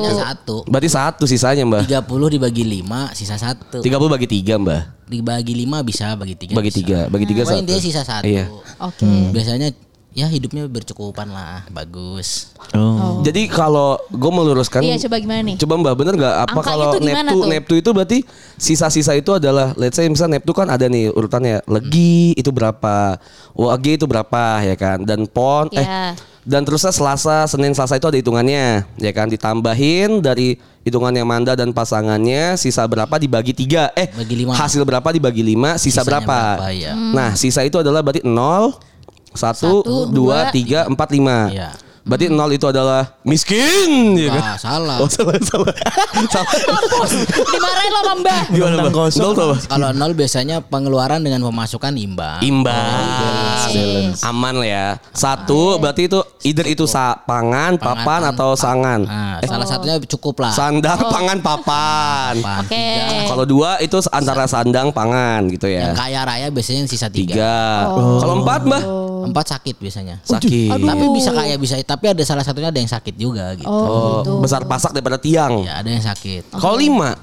1.
Berarti satu sisanya Mbak
30 dibagi 5 sisa 1.
30 bagi 3 Mbak
Dibagi 5 Iya, bisa bagi 3.
Bagi 3 Bagi 3
Pokoknya
satu
intinya sisa 1.
Iya.
Oke.
Biasanya ya hidupnya bercukupan lah. Bagus.
Oh.
Jadi kalau gue meluruskan
Iya, coba gimana nih?
Kan Coba Mbak bener gak apa
Angka
kalau
itu gimana
Neptu
tuh?
Neptu itu berarti sisa-sisa itu adalah Let's say misalnya Neptu kan ada nih urutannya
Hmm.
Legi itu berapa Wage itu berapa ya kan Dan Pon eh
Iya.
dan terusnya Selasa, Senin, Selasa itu ada hitungannya, ya kan? Ditambahin dari hitungannya Manda dan pasangannya, sisa berapa dibagi tiga? Eh,
Bagi lima.
hasil berapa dibagi lima? Sisa
Sisanya
berapa?
berapa, iya.
Hmm.
Nah, sisa itu adalah berarti 0, 1, 2, 3, 4, 5.
Iya. Nah,
Berarti nol itu adalah miskin, ya kan?
Wah, salah.
Oh salah salah. salah.
Dimarahin lo sama Mbah.
Gimana bang? Nol tuh apa?
Kalau nol biasanya pengeluaran dengan pemasukan imbang.
Imbang. Aman lah ya. Satu berarti itu either itu sa pangan, papan atau sangan.
Nah, salah satunya cukup lah. Nah,
Sandang, pangan, papan.
Pan,
Oke.
tiga.
Kalau dua itu antara sandang, pangan gitu ya.
Yang Oh. kaya raya biasanya yang sisa tiga.
Tiga. Kalau empat mbah
Empat sakit biasanya.
sakit.
Tapi bisa kaya bisa, tapi ada salah satunya ada yang sakit juga gitu.
Oh,
Oh,
gitu.
besar pasak daripada tiang.
Ya ada yang sakit.
Kalau lima.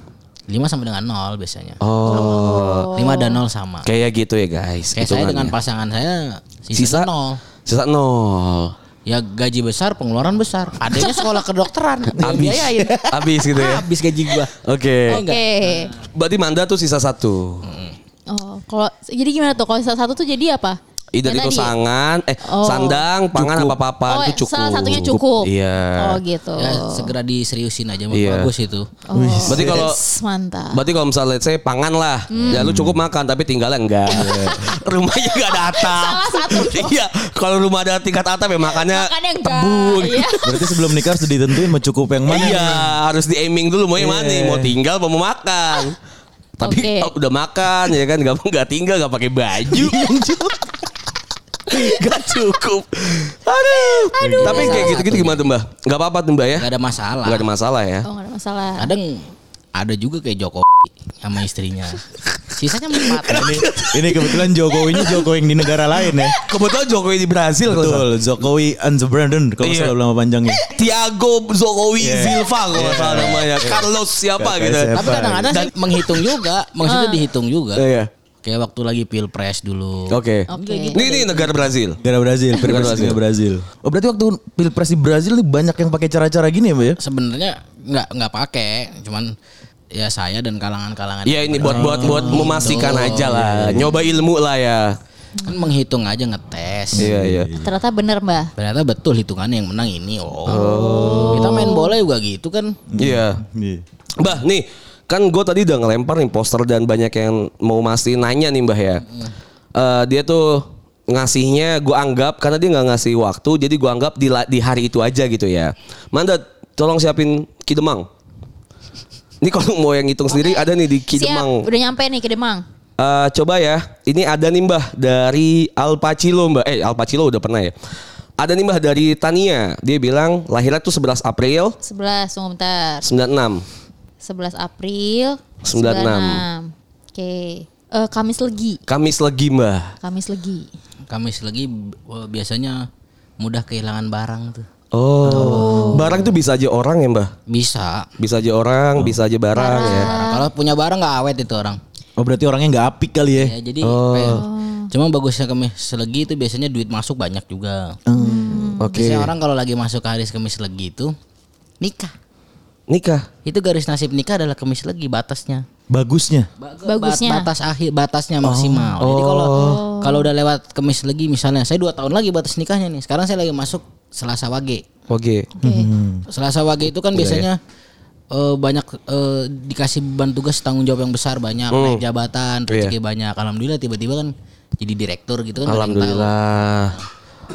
Lima sama dengan nol biasanya.
Oh,
Lima dan nol sama.
kayak
Kayak,
gitu ya guys.
saya
hitungannya.
dengan pasangan saya
Sisa?
sisa nol.
Sisa nol.
Ya gaji besar, pengeluaran besar. Adanya sekolah kedokteran.
Abis.
Biayain.
Abis gitu ya.
Iya, Habis gaji gua.
Oke.
Oh, Hmm. enggak.
Oke.
Berarti Manda tuh sisa satu.
Oh, kalau jadi gimana tuh? Kalau salah satu tuh jadi apa?
Either
Yang
itu
tadi?
sangan, eh
Oh.
sandang, pangan apa papan
Oh,
itu cukup.
salah satunya cukup.
Iya.
Oh, gitu.
Ya segera diseriusin aja
Iya.
bagus itu.
Berarti kalau
S- Mantap.
Berarti kalau misalnya let's say pangan lah,
Hmm.
ya lu cukup makan tapi tinggalnya enggak. Rumahnya enggak ada atap.
Salah satu
iya, kalau rumah ada tingkat atap ya makannya
Makannya Kan enggak.
tebu.
Iya.
Berarti sebelum nikah harus ditentuin mau cukup yang mana.
Iya, harus di aiming dulu mau yang mana, nih, mau tinggal apa mau makan. Tapi
Iya.
oh,
Oke.
udah makan ya kan nggak nggak tinggal nggak pakai baju.
Iya,
Gak cukup. Aduh. Tapi kayak gitu-gitu gimana tuh Mbak? Gak apa-apa tuh Mbak ya?
Enggak ada masalah.
Gak ada masalah ya.
Oh, enggak ada masalah.
Kadang ada juga kayak Jokowi sama istrinya. Sisanya empat.
Ini, ini kebetulan Jokowinya Jokowi yang di negara lain ya.
Kebetulan Jokowi di Brasil kalau nggak salah.
Betul, Jokowi and the Brandon kalau
Iya.
salah ya. nama panjangnya.
Tiago Jokowi
Yeah.
Silva kalau nggak salah
Yeah.
namanya. Carlos siapa
Kayak
gitu.
siapa.
Tapi kadang-kadang saya menghitung juga, maksudnya dihitung juga.
Iya.
Kayak waktu lagi pilpres dulu.
Oke.
Oke.
Ini ini negara Brazil.
Negara Brazil, pilpres
Brazil.
negara Brazil. Oh berarti waktu pilpres di Brazil nih banyak yang pakai cara-cara gini ya, Mbak ya?
Sebenarnya nggak nggak pakai, cuman ya saya dan kalangan-kalangan
Ya ini buat buat buat memastikan aja lah. Nyoba ilmu lah ya.
kan menghitung aja ngetes.
Iya iya.
Ternyata bener, Mbah.
Ternyata betul hitungannya yang menang ini. Oh. Kita main bola juga gitu kan.
Iya.
Iya.
Mbah nih kan gue tadi udah ngelempar nih poster dan banyak yang mau masih nanya nih Mbah ya. Eh, dia tuh ngasihnya gue anggap karena dia nggak ngasih waktu jadi gue anggap di, la- di hari itu aja gitu ya. Manda tolong siapin kidemang. Ini kalau mau yang hitung sendiri ada nih di kidemang.
Siap, udah nyampe nih ke Demang.
Eh, coba ya, ini ada nih mbah dari Al Pacilo mbah. Eh Al Pacilo udah pernah ya. Ada nih mbah dari Tania. Dia bilang lahirnya tuh 11 April
11, tunggu bentar.
96.
11 April
96.
96. Oke. Eh, Kamis Legi.
Kamis legi mbah.
Kamis Legi.
Kamis lagi b- biasanya mudah eh, kehilangan barang tuh.
Oh. Barang itu bisa aja orang ya, Mbah?
Bisa. Nah,
Bisa aja orang, bisa aja barang ya.
Kalau punya barang nggak awet itu orang.
Oh berarti orangnya nggak apik kali ya?
Ya jadi kayak- cuma bagusnya kemis legi itu biasanya duit masuk banyak juga.
Oke.
Biasanya orang kalau lagi masuk ke hari kemis legi itu nikah.
Nikah.
Itu garis nasib nikah adalah kemis legi batasnya.
Bagusnya.
Ba-
Bagusnya.
bat- batas akhir batasnya maksimal. Jadi kalau kalau udah lewat kemis legi misalnya saya dua tahun lagi batas nikahnya nih. Sekarang saya lagi masuk Selasa Wage.
Oke. Mhm.
Selasa Wage itu kan
Iya,
biasanya eh, banyak eh, dikasih beban tugas tanggung jawab yang besar banyak
Hmm.
naik jabatan
Iya.
rezeki banyak alhamdulillah tiba-tiba kan jadi direktur gitu kan nggak ada yang tahu.
Alhamdulillah.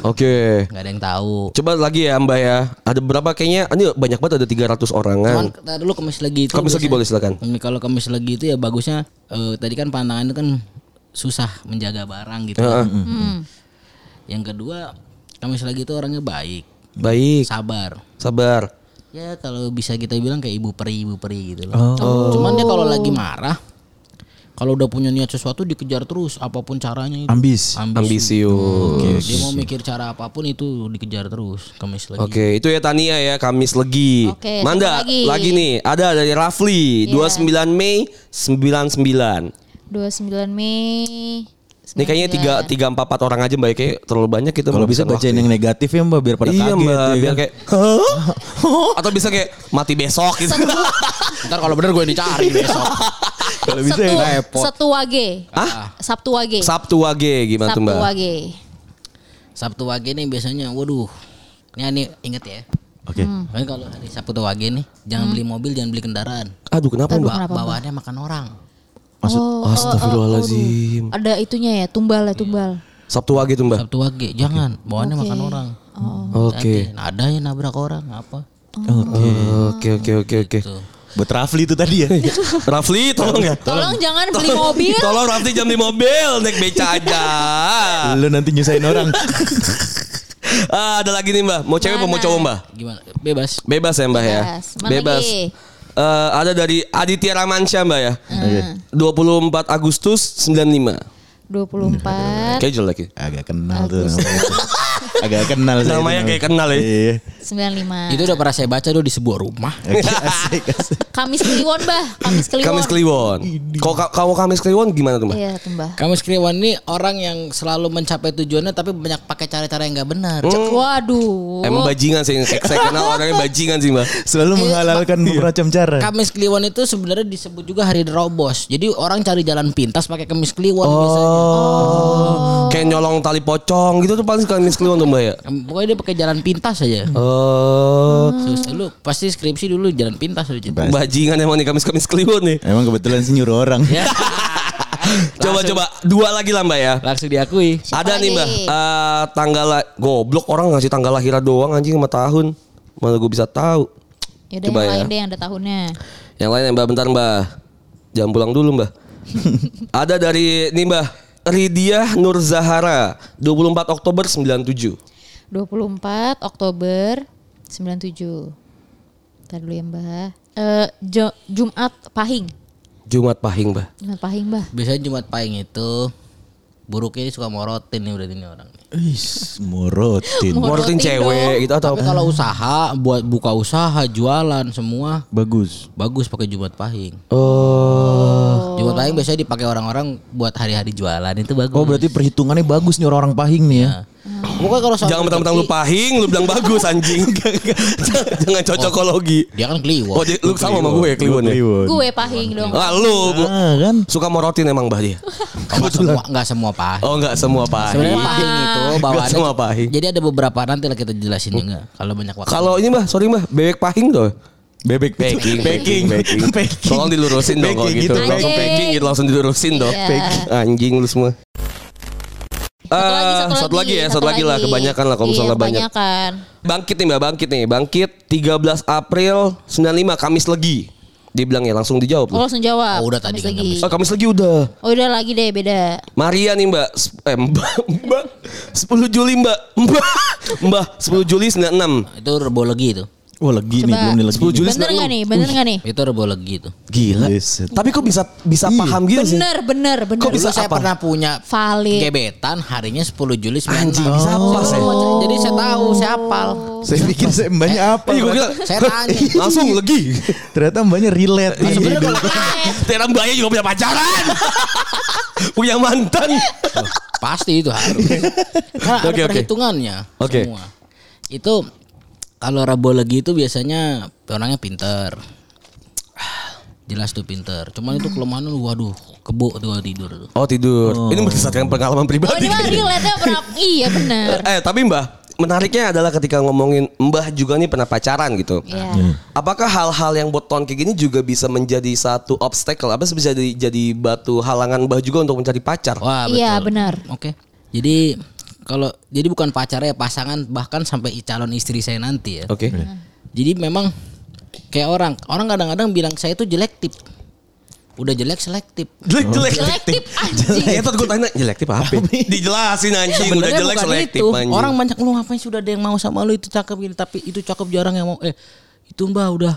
Oke.
nggak ada yang tahu
Coba lagi ya Mbak ya. Ada berapa kayaknya? Ini banyak banget ada 300 orangan.
cuman tar dulu kemis legi itu
Kamu lagi
biasanya-
boleh silakan.
Hmm, kalau kemis legi itu ya bagusnya eh, tadi kan pantangan itu kan susah menjaga barang gitu kan. yang kedua kemis legi itu orangnya baik
Baik.
sabar
Sabar.
Ya kalau bisa kita bilang kayak ibu peri ibu peri gitu
Oh.
loh. Cuman dia kalau lagi marah, kalau udah punya niat sesuatu dikejar terus apapun caranya itu.
Ambis.
Ambisi.
Ambisius.
Dia mau mikir cara apapun itu dikejar terus. Kemis lagi.
Oke, itu ya Tania ya, Kamis Legi.
Oke,
Manda,
satu lagi.
lagi. nih, ada dari Rafli, 29 Mei 99.
29 Mei.
Ini kayaknya tiga tiga empat empat orang aja mbak, Ya, kayak terlalu banyak kita
Kalau bisa
menghabiskan
bacain yang negatif ya mbak biar
waktu.
pada
iya
kaget.
mbak,
ya kan?
biar kayak "Hah? atau bisa kayak mati besok gitu.
Ntar kalau bener gue dicari besok.
Kalau bisa
Setu,
yang
Setu Wage.
ya. Hah?
Sabtu Wage.
Sabtu Wage gimana tuh
Sabtu
mbak?
Wage.
Sabtu Wage nih biasanya, waduh. Ini ini inget ya.
Oke.
Pokoknya kalau hari Sabtu Wage nih, jangan beli mobil, jangan beli kendaraan.
Aduh Hmm. kenapa mbak?
Ba- bawaannya makan orang.
Maksud
Oh, Astagfirullahaladzim.
Ada itunya ya, tumbal ya, tumbal.
Sabtu Wage tuh mbak. Oh,
Sabtu Wage, jangan. Bawaannya makan orang.
Oke,
Nah, ada yang nabrak orang apa?
oke, oke, oke, oke.
buat Rafli itu tadi ya.
Rafli tolong ya.
Tolong jangan beli mobil.
Tolong Rafli jangan beli mobil, naik beca aja.
Lu nanti nyusahin orang.
Ah, ada lagi nih mbak, mau cewek apa mau
Mana?
cowok mbak?
Gimana? Bebas.
Bebas ya mbak ya.
Bebas. Mana
Bebas.
lagi? Hmm.
Eh, ada dari Aditya Ramansyah mbak ya.
Oke.
24 Agustus 95.
24
Kayak jelek ya.
Agak kenal tuh. namanya. Agak kenal. saya
Namanya
itu
kayak kenal ya.
Iya.
95.
Nah. Itu udah pernah saya baca tuh di sebuah rumah.
Oke, asik, asik.
Kamis Kliwon, Bah. Kamis Kliwon.
Kamis Kliwon. Kau kamu Kamis Kliwon gimana tuh mbak?
Iya, tuh, Mbah.
Kamu Kriwan ini orang yang selalu mencapai tujuannya tapi banyak pakai cara-cara yang nggak benar.
Oh.
Hmm.
Waduh.
Emang bajingan sih, saya saya kenal orangnya bajingan sih mbak.
Selalu menghalalkan bermacam cara.
Kamis Kliwon itu sebenarnya disebut juga hari Robos. Jadi orang cari jalan pintas pakai Kamis Kliwon biasanya.
Oh.
Kayak nyolong tali pocong gitu tuh paling Kamis Kliwon tuh mbak ya.
Em, Pokoknya dia pakai jalan pintas aja.
Hmm.
Oh,
Terus lu pasti skripsi dulu jalan pintas aja.
Ba-
bajingan emang nih Kamis Kamis Kliwon nih.
Emang kebetulan sih nyuruh orang.
Ya.
Coba coba dua lagi lah mbak ya.
Langsung diakui.
Siapa
ada nih
lagi?
mbak Eh, tanggal la- goblok orang ngasih tanggal lahirnya doang anjing sama tahun malah gue bisa tahu
Yaudah
Coba
yang
ya.
lain deh yang ada tahunnya.
yang lain ya, mbak bentar mbak jangan pulang dulu mbak ada dari nih mbak Ridiah Nur Zahara 24 Oktober 97
24 Oktober 97. Ntar dulu ya, Mbah. Eh, Jo- Jumat Pahing.
Jumat Pahing mbak
Jumat Pahing, Mbah.
Biasanya Jumat Pahing itu buruknya ini suka morotin nih berarti ini orang.
Ih, morotin.
Morotin cewek gitu atau
Tapi kalau usaha buat buka usaha jualan semua
Bagus.
bagus pakai Jumat Pahing.
oh
Jumat Pahing biasanya dipakai orang-orang buat hari-hari jualan itu bagus.
Oh berarti perhitungannya bagus nih orang-orang pahing nih ya.
Pokoknya kalau soal
jangan mentang-mentang lu pahing lu bilang bagus anjing jangan cocokologi
dia kan kliwon.
oh jadi lu sama sama gue ya Kliwon ya
Kliwon.
Gue Pahing dong.
ah, lu
Ah kan.
suka morotin emang mbak dia
Enggak semua enggak semua pahing.
oh nggak semua pahing
Sebenarnya pahing itu
Gak
bawaannya.
semua pahing. Oh.
Jadi ada beberapa nanti lah kita jelasin juga kalau banyak waktu.
Kalau ini mbah, sorry mbah, bebek pahing tuh.
Bebek
Packing,
Packing.
packing.
Packing.
Tolong dilurusin dong kalau
Packing
gitu.
gitu,
Langsung
packing.
packing gitu langsung dilurusin dong.
Iya.
Packing. Anjing lu semua.
Satu lagi,
Eh,
satu, lagi,
ya, satu lagi lah kebanyakan lah kalau
Iya,
misalnya banyak.
Kebanyakan.
Bangkit nih Mbak, bangkit nih. Bangkit 13 April 95 Kamis Legi. Dibilang ya langsung dijawab
Oh,
loh.
langsung jawab.
Oh, udah tadi
Kamis
kan,
lagi.
Ah, Kamis Legi udah.
Oh, udah lagi deh beda.
Maria nih Mbak, Sep- eh, Mbak, Mbak 10 Juli Mbak. Mbak, Mbak 10 Juli 96.
itu rebo lagi itu.
Wah legi
Coba.
nih belum nih legi.
10 Juli
Bener
90.
nggak nih? Bener nggak nih?
Itu rebo legi tuh.
Gila.
Yes.
Tapi kok bisa bisa paham gitu sih?
Bener, bener, bener.
Kok bisa
Dulu saya
apa?
pernah punya
Valid.
gebetan harinya 10 Juli 96.
Anjing, bisa apa sih?
Jadi saya tahu, saya hafal.
Saya pikir saya mbaknya apa?
Iya, gua kira-
Saya tanya.
Langsung legi.
Ternyata mbaknya relate.
Nah, sebenarnya kalau
Terang Mbaknya juga punya pacaran. punya mantan.
Pasti itu harus. Karena
Oke,
ada
oke.
perhitungannya
Oke.
semua. Itu kalau rabo lagi itu biasanya orangnya pinter. Jelas tuh pinter. Cuman itu kelemahannya lu waduh, kebo tuh kalau tidur tuh.
Oh tidur. Ini berdasarkan pengalaman
Oh
pribadi.
ini mah relate-nya pernah. Iya bener.
eh tapi Mbah, menariknya adalah ketika ngomongin Mbah juga nih pernah pacaran gitu.
Iya.
Apakah hal-hal yang buat tahun kayak gini juga bisa menjadi satu obstacle? Apa sih bisa jadi, jadi batu halangan Mbah juga untuk mencari pacar?
Wah, betul.
Iya benar.
Oke. Jadi kalau jadi bukan pacarnya pasangan bahkan sampai i- calon istri saya nanti ya.
Oke.
Jadi memang kayak orang, orang kadang-kadang bilang saya itu jelektif. Udah jelek selektif.
Jelek jelek.
Selektif anjing.
Jelek. gue tanya jelek tipe apa? Dijelasin anjing Iya, udah
Sebenarnya
jelek
bukan
selektif
itu.
anjing.
Orang banyak lu ngapain sudah ada yang mau sama lu itu cakep gini tapi itu cakep jarang yang mau eh itu Mbak udah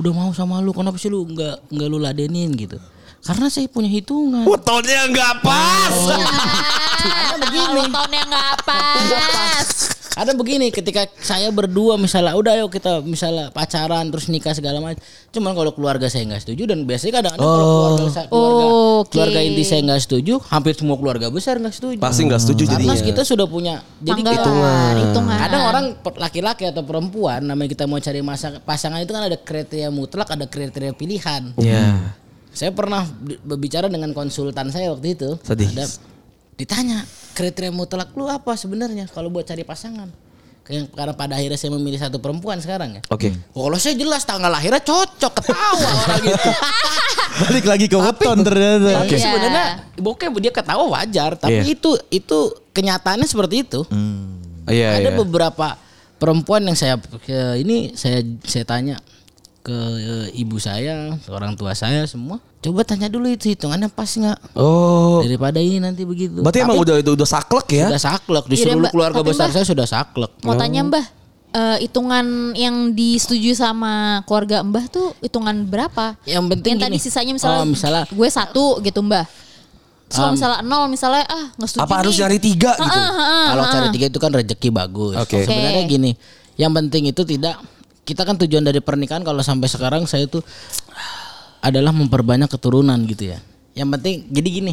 udah mau sama lu kenapa sih lu nggak nggak lu ladenin gitu. Karena saya punya hitungan.
Wetonnya nggak pas.
Kalau tahunnya nggak pas.
Ada begini ketika saya berdua misalnya udah ayo kita misalnya pacaran terus nikah segala macam. Cuman kalau keluarga saya nggak setuju dan biasanya kadang-kadang kalau
Oh.
keluarga saya- keluarga,
Oke.
keluarga inti saya nggak setuju, hampir semua keluarga besar nggak setuju.
Pasti nggak setuju
Karena
jadinya.
kita sudah punya jadi
Tanggalan,
gitu.
hitungan.
Kadang orang per- laki-laki atau perempuan namanya kita mau cari masa- pasangan itu kan ada kriteria mutlak, ada kriteria pilihan.
Iya.
Saya pernah di- berbicara dengan konsultan saya waktu itu.
Sedih.
Ada, ditanya kriteria mutlak lu apa sebenarnya kalau buat cari pasangan? Kayak- Karena pada akhirnya saya memilih satu perempuan sekarang ya.
Oke.
Oh, kalau saya jelas tanggal lahirnya cocok ketawa orang gitu.
Balik lagi ke weton ternyata.
Tapi
Iya.
sebenarnya bokep dia ketawa wajar, tapi
Iya.
itu itu kenyataannya seperti itu.
Iya
ada
iya.
beberapa perempuan yang saya ke- ini saya saya tanya ke eh, ibu saya, ke orang tua saya semua. Coba tanya dulu itu hitungannya pas nggak
Oh.
daripada ini nanti begitu.
Berarti emang
Tapi
udah udah saklek ya?
sudah saklek di
Iya,
seluruh
Mbak.
keluarga
Tapi,
besar
Mbak.
saya sudah saklek.
Mau tanya Mbah, eh, hitungan yang disetujui sama keluarga Mbah tuh hitungan berapa?
Yang penting
yang tadi
gini.
sisanya misalnya,
Oh, misalnya-
gue satu gitu Mbah. Terus kalau misalnya nol misalnya ah nggak setuju
Apa harus
nih.
nyari tiga gitu?
Ah, ah, ah,
Kalau
ah.
cari tiga itu kan rezeki bagus.
Oke.
Sebenarnya
Oke.
gini, yang penting itu tidak kita kan tujuan dari pernikahan kalau sampai sekarang saya itu adalah memperbanyak keturunan gitu ya. Yang penting jadi gini,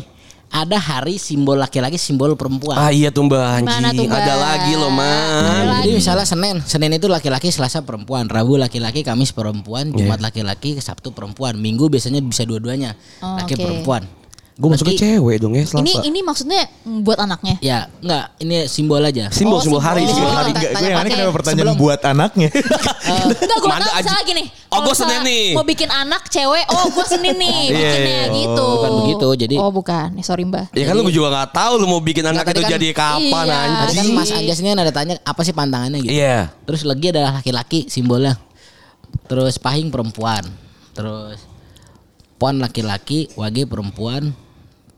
ada hari simbol laki-laki, simbol perempuan.
Ah iya tuh Mbak
Gimana
anjing.
tuh, Mbak?
Ada lagi loh man.
Jadi misalnya Senin, Senin itu laki-laki, Selasa perempuan, Rabu laki-laki, Kamis perempuan,
Iya.
Jumat laki-laki, Sabtu perempuan, Minggu biasanya bisa dua-duanya.
Oh,
laki
oke.
perempuan.
Gue masuknya
Nanti-
cewek dong ya
Ini
Selasa.
ini maksudnya buat anaknya.
Iya.
Ya, enggak, ini simbol aja.
Simbol
Oh,
simbol hari
simbol.
simbol hari.
Tanya
Enggak, gue yang aneh
pakai-
kenapa pertanyaan buat anaknya.
Enggak gue
Manda
tahu
aja.
misalnya gini.
Oh,
kalau
gue Senin
misalnya
nih. Iya,
Mau bikin anak cewek, oh gue Senin nih bikinnya gitu.
bukan begitu, jadi-
Oh bukan, Eh, sorry Mbah.
Ya kan lu juga gak tahu lu mau bikin anak
tadi
itu
Iya. kan-
jadi kapan
Iya.
Tadi
anjing.
kan Mas Anjas ini kan ada tanya apa sih pantangannya gitu.
Iya.
Terus legi adalah laki-laki simbolnya. Terus pahing perempuan. Terus pon laki-laki, wage perempuan,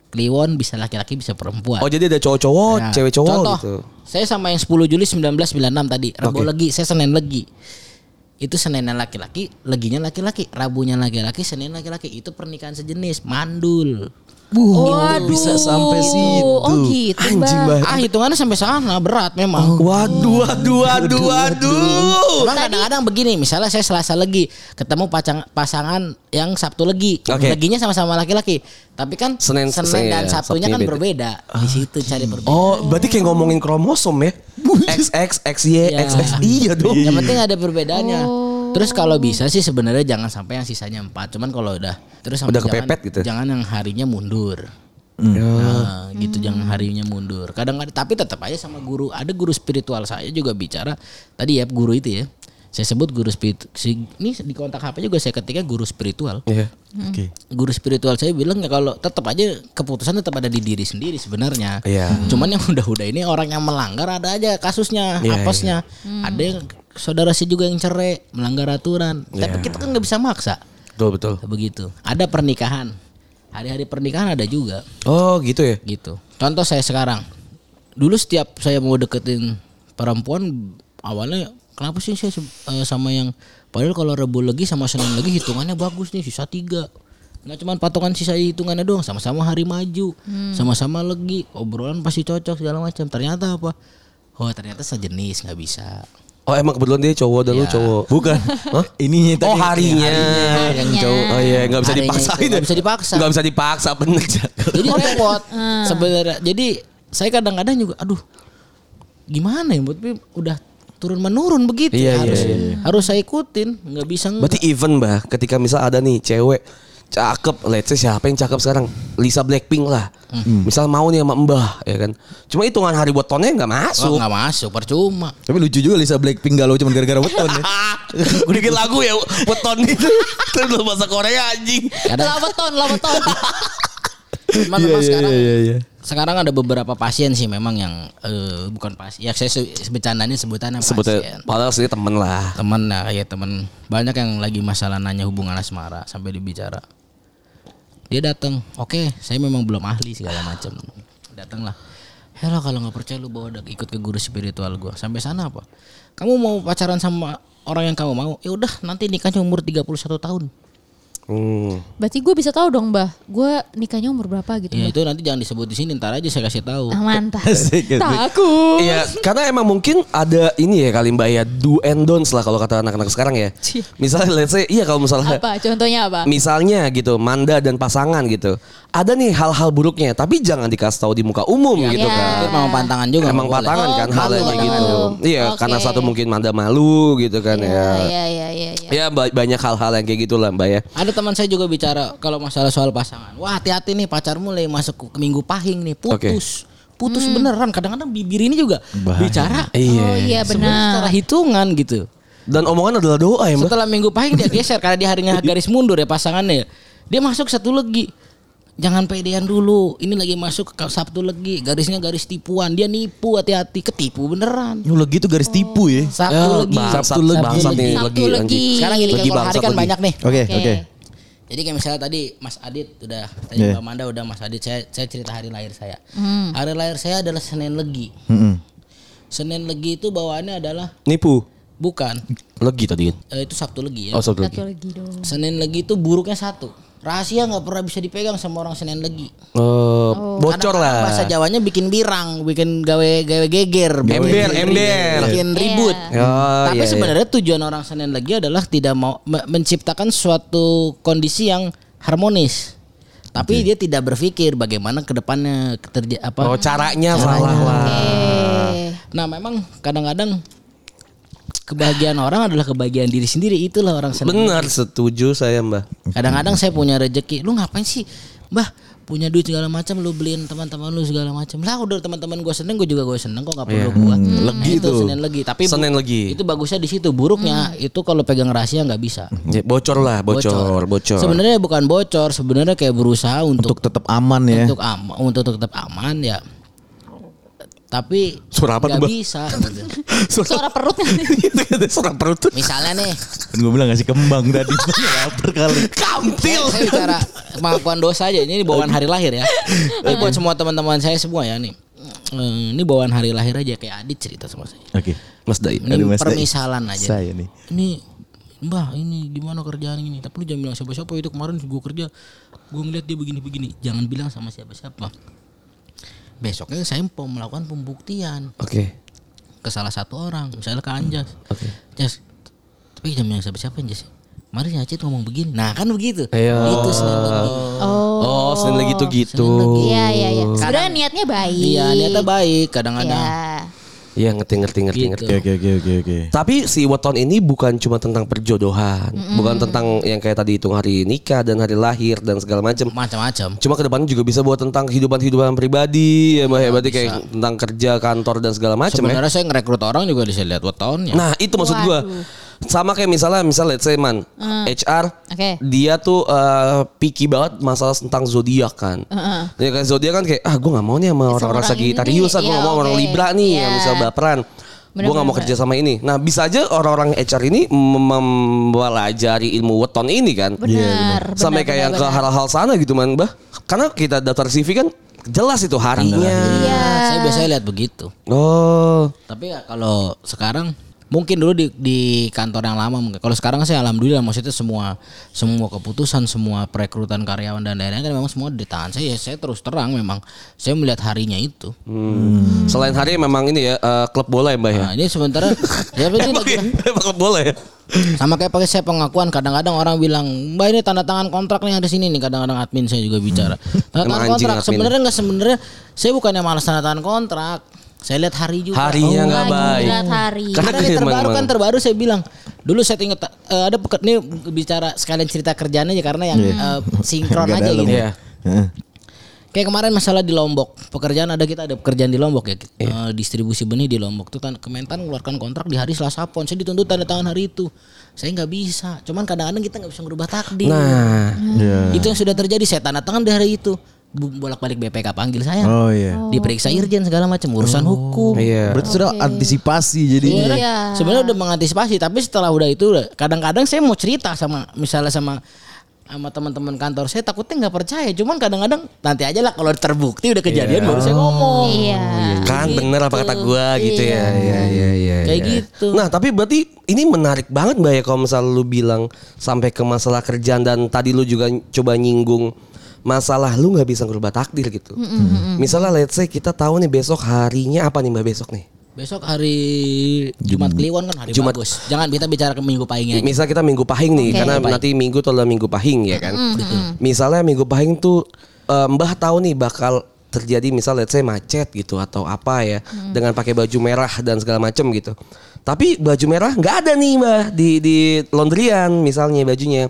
kliwon bisa laki-laki bisa
Oh
perempuan.
jadi ada cowok-cowok,
Nah,
cewek cowok
contoh,
gitu.
Saya sama yang 10 Juli 1996 tadi, Rabu
Oke.
legi, saya Senin legi. Itu Seninnya laki-laki, leginya laki-laki, Rabunya laki-laki, Senin laki-laki. Itu pernikahan sejenis, mandul.
Waduh.
bisa sampai situ.
Oh gitu
Anjing
Mbah.
bah.
Ah, hitungannya sampai sana berat memang.
Oh. Waduh, waduh, waduh, waduh.
Emang kadang-kadang begini, misalnya saya Selasa legi, ketemu pacang- pasangan yang Sabtu legi,
Oke.
leginya sama-sama laki-laki, tapi kan
Senin-
Senin,
Senin,
dan
ya, Sabtunya
Sabtunya kan
beda.
berbeda. Di situ cari berbeda.
Oh, berarti kayak ngomongin kromosom ya. XX, XY,
Iya.
XX. Iya dong.
Yang penting ada perbedaannya. Terus kalau bisa sih sebenarnya jangan sampai yang sisanya empat, cuman kalau udah terus
Udah
jangan-
kepepet gitu. Hmm. Oh.
Jangan yang harinya mundur. Nah, gitu jangan harinya mundur. Kadang-kadang tapi tetap aja sama guru. Ada guru spiritual saya juga bicara tadi ya guru itu ya. Saya sebut guru spiritual. Ini di kontak HP juga saya ketika guru spiritual.
Iya.
Hmm.
Oke.
Guru spiritual saya bilang ya kalau tetap aja keputusan tetap ada di diri sendiri sebenarnya.
Iya.
Cuman yang udah-udah ini orang yang melanggar ada aja kasusnya,
Iya,
apesnya. Ada yang saudara sih juga yang cerai, melanggar aturan. Tapi
Iya.
kita kan nggak bisa maksa.
Betul, betul.
Begitu. Ada pernikahan. Hari-hari pernikahan ada juga
Oh, gitu ya.
gitu. Contoh saya sekarang. Dulu setiap saya mau deketin perempuan awalnya kenapa sih saya se- eh, sama yang padahal kalau Rabu lagi sama Senin lagi hitungannya bagus nih sisa tiga. Nah cuman patokan sisa hitungannya doang sama-sama hari maju, sama-sama legi, obrolan pasti cocok segala macam. Ternyata apa? Oh ternyata sejenis nggak bisa.
Oh emang kebetulan dia cowok dan lu
Iya.
cowok.
Bukan. Ininya tadi.
Oh harinya,
harinya.
yang cowok. Oh iya nggak bisa
Harinya itu,
dipaksain.
nggak bisa dipaksa.
Nggak bisa dipaksa bener.
Jadi repot sebenarnya. Jadi saya kadang-kadang juga aduh gimana ya buat udah turun menurun begitu
Iya, iya,
harus
iya,
harus saya ikutin nggak bisa nggak.
Berarti even bah ketika misal ada nih cewek cakep, let's say siapa yang cakep sekarang? Lisa Blackpink lah. Misal mau nih sama Mbah ya kan. Cuma hitungan hari buat tonnya nggak
Wah,
masuk.
nggak masuk percuma
Tapi lucu juga Lisa Blackpink galau cuma gara-gara weton ya.
Gue bikin lagu ya weton itu. Itu belum bahasa Korea anjing.
kadang
Laweton, laweton.
cuman
Iya
memang
iya
sekarang
iya iya.
sekarang ada beberapa pasien sih memang yang eh, bukan pasien ya saya se- bercandanya sebutannya
Sebutnya
pasien
padahal sih temen lah.
teman nah ya teman banyak yang lagi masalah nanya hubungan asmara sampai dibicara dia datang oke saya memang belum ahli segala macam datanglah Halo kalau nggak percaya lu bawa dak- ikut ke guru spiritual gua. Sampai sana apa? Kamu mau pacaran sama orang yang kamu mau? Ya udah nanti nikahnya umur 31 tahun.
Hmm.
Berarti gue bisa tahu dong, Mbah. Gue nikahnya umur berapa gitu.
Ya itu nanti jangan disebut di sini, ntar aja saya kasih tahu.
Ah, mantap.
Asik, asik.
Takut.
Iya, karena emang mungkin ada ini ya kali Mbak ya do and don'ts lah kalau kata anak-anak sekarang ya.
Cih.
Misalnya let's say iya kalau misalnya
Apa? Contohnya apa?
misalnya gitu Manda dan pasangan gitu. Ada nih hal-hal buruknya tapi jangan dikasih tahu di muka umum gitu
iya.
kan.
Itu memang pantangan juga.
Emang
nggak boleh.
patangan
Oh,
kan hal
malu,
kayak
malu.
gitu. Iya,
Oke.
karena satu mungkin Manda malu gitu kan ya.
Iya, iya, iya, iya.
Ya ba- banyak hal-hal yang kayak gitulah Mbak ya.
Ada teman saya juga bicara kalau masalah soal pasangan. Wah hati-hati nih pacar mulai masuk ke minggu pahing nih putus. Putus beneran. Kadang-kadang bibir ini juga bicara
Iya.
Oh iya
sebenarnya
benar.
secara hitungan gitu.
Dan omongan adalah doa ya, Mbak.
Setelah minggu pahing dia geser karena di harinya garis mundur ya pasangannya. Dia masuk satu legi. Jangan pedean dulu. Ini lagi masuk ke Sabtu legi. Garisnya garis tipuan. Dia nipu hati-hati. Ketipu beneran.
Nyuleg gitu garis tipu ya.
Sabtu legi.
bangsat,
Sabtu legi.
bangsat nih,
Sabtu
legi,
legi.
anjing.
Sekarang gini kan
Legi,
kalau hari
bangsat
kan
legi.
banyak nih.
Oke
Oke.
oke.
Jadi kayak misalnya tadi Mas Adit udah, tadi
Iya.
Mbak Manda udah Mas Adit, saya, saya cerita hari lahir saya. Hari lahir saya adalah Senin Legi.
Mm-mm.
Senin Legi itu bawaannya adalah
Nipu.
bukan
Legi tadi kan.
eh, itu Sabtu Legi ya.
Oh, Sabtu legi.
Satu lagi dong.
Senin Legi itu buruknya satu. Rahasia nggak pernah bisa dipegang sama orang Senin Legi.
Eh, bocor
Kadang-kadang
lah.
Oh, Bahasa Jawanya bikin birang, bikin gawe gawe geger, bikin-
Ember,
bikin-
ember.
bikin ribut.
Oh,
Tapi
iya, iya.
sebenarnya tujuan orang Senin Legi adalah tidak mau me- menciptakan suatu kondisi yang harmonis. Tapi dia tidak berpikir bagaimana kedepannya kerja apa.
Oh caranya salah lah.
Eh,
Nah memang kadang-kadang kebahagiaan orang adalah kebahagiaan diri sendiri itulah orang Senin.
Benar setuju saya Mbak.
Kadang-kadang saya punya rejeki, lu ngapain sih, Mbah? Punya duit segala macam, lu beliin teman-teman lu segala macam. Lah udah teman-teman gue seneng, gue juga gue seneng kok nggak perlu
Iya.
gua.
Hmm,
Legi itu Senin legi, tapi bu-
Senin legi.
Itu bagusnya di situ, buruknya itu kalau pegang rahasia nggak bisa.
Ya, bocor lah, bocor, bocor.
Sebenarnya bukan bocor, sebenarnya kayak berusaha untuk
Untuk tetap aman ya.
untuk ama- untuk tetap aman ya. Tapi
Suara apa tuh,
nggak
Bang?
bisa. gitu.
suara perut nanti.
Serak perut tuh.
Misalnya nih,
Kan gue bilang ngasih kembang tadi. Lapar kali.
Kamtil.
ya, saya bicara pengakuan dosa aja ini bawaan hari lahir ya ini buat semua teman-teman saya semua ya nih Eh, ini bawaan hari lahir aja kayak Adit cerita sama saya
Oke.
Mas Daim.
ini
Aduh, Mas Dai.
permisalan aja
Saya nih.
ini mbah ini gimana kerjaan ini tapi lu jangan bilang siapa-siapa itu kemarin gue kerja gue ngeliat dia begini-begini jangan bilang sama siapa-siapa besoknya saya mau melakukan pembuktian
Oke.
ke salah satu orang misalnya ke Anjas Jas tapi jangan bilang siapa-siapa Jas kemarin si Acit ngomong begini nah kan begitu itu sebenarnya
Oh, Senin lagi tuh gitu.
Iya, iya, iya. Sebenarnya niatnya baik.
Iya niatnya baik kadang-kadang.
Iya.
Iya ngerti ngerti ngerti
Gitu.
ngerti.
Oke oke oke oke oke.
Tapi si weton ini bukan cuma tentang perjodohan, bukan tentang yang kayak tadi hitung hari nikah dan hari lahir dan segala macam.
Macam-macam.
Cuma ke depannya juga bisa buat tentang kehidupan-kehidupan pribadi ya Mbak ya berarti kayak tentang kerja kantor dan segala macam ya.
Sebenarnya saya ngerekrut orang juga bisa lihat wetonnya.
Nah, itu maksud gua. Sama kayak misalnya misalnya let's say man HR
Oke.
dia tuh eh, picky banget masalah tentang zodiak kan.
Heeh.
Ya kan zodiak kan kayak ah gue nggak mau nih sama orang-orang
orang ini
Sagittarius, ah,
nih.
gue nggak
Iya,
mau orang
oke.
Libra nih, yang
Iya.
bisa baperan. Gue nggak mau
Benar-benar.
kerja sama ini. Nah bisa aja orang-orang HR ini mem- mempelajari ilmu weton ini kan.
Benar.
Sampai
benar,
kayak
benar,
ke hal-hal sana gitu man, bah. Karena kita daftar CV kan jelas itu harinya.
Nah, Saya biasanya lihat begitu.
Oh,
Tapi ya kalau sekarang mungkin dulu di, di kantor yang lama mungkin. Kalau sekarang sih alhamdulillah maksudnya semua semua keputusan, semua perekrutan karyawan dan lain-lain kan memang semua di tangan saya. Ya, saya terus terang memang saya melihat harinya itu.
Hmm. Selain hari memang ini ya eh, klub bola ya mbak ya.
Nah, ini sementara saya
Iya,
pikir
Emang
lagi-
ya?
gitu.
Emang klub bola ya.
sama kayak pakai saya pengakuan kadang-kadang orang bilang mbak ini tanda tangan kontrak nih ada sini nih kadang-kadang admin saya juga bicara
Hmm. Emang
tanda tangan
anjing
kontrak
admin.
sebenarnya nggak sebenarnya saya bukannya malas tanda tangan kontrak saya lihat hari juga Oh,
Harinya nggak
lagi
baik.
berat hari.
Karena
karena ini
emang-
terbaru kan
emang.
terbaru saya bilang dulu saya ingat eh, ada peket nih bicara sekalian cerita kerjaan aja karena yang eh, sinkron
Agak
aja
Iya. dalam.
gitu
Iya.
Heeh.
Kayak kemarin masalah di Lombok, pekerjaan ada kita ada pekerjaan di Lombok ya,
Iya.
Eh, distribusi benih di Lombok tuh tan- Kementan mengeluarkan kontrak di hari Selasa Pon, saya dituntut tanda tangan hari itu, saya nggak bisa, cuman kadang-kadang kita nggak bisa merubah takdir,
Nah,
Iya.
itu yang sudah terjadi, saya tanda tangan di hari itu, Bu- bolak-balik BPK panggil saya,
Oh iya. Ya.
diperiksa irjen segala macam urusan hukum,
iya.
Berarti sudah antisipasi
Iya.
jadinya.
Iya.
Sebenarnya udah mengantisipasi, tapi setelah udah itu udah- kadang-kadang saya mau cerita sama misalnya sama sama teman-teman kantor saya takutnya nggak percaya cuman kadang-kadang nanti aja lah kalau terbukti udah kejadian baru saya ngomong
Iya.
Kan bener apa kata gua gitu ya. Iya iya iya.
Kayak
iya.
gitu.
Nah, tapi berarti ini menarik banget Mbak ya kalau misalnya lu bilang sampai ke masalah kerjaan dan tadi lu juga coba nyinggung masalah lu nggak bisa ngerubah takdir gitu. Misalnya let's say kita tahu nih besok harinya apa nih Mbak besok nih?
besok hari Jumat Kliwon kan hari
Jumat. Iya.
bagus jangan kita bicara ke minggu paginya aja.
Misal kita Minggu Pahing nih, karena nanti Minggu tuh adalah Minggu Pahing ya kan. Misalnya Minggu Pahing tuh eh, Mbah tahu nih bakal terjadi misal let's say macet gitu atau apa ya
Mm.
dengan pakai baju merah dan segala macem gitu. Tapi baju merah nggak ada nih Mbah di di laundryan misalnya bajunya.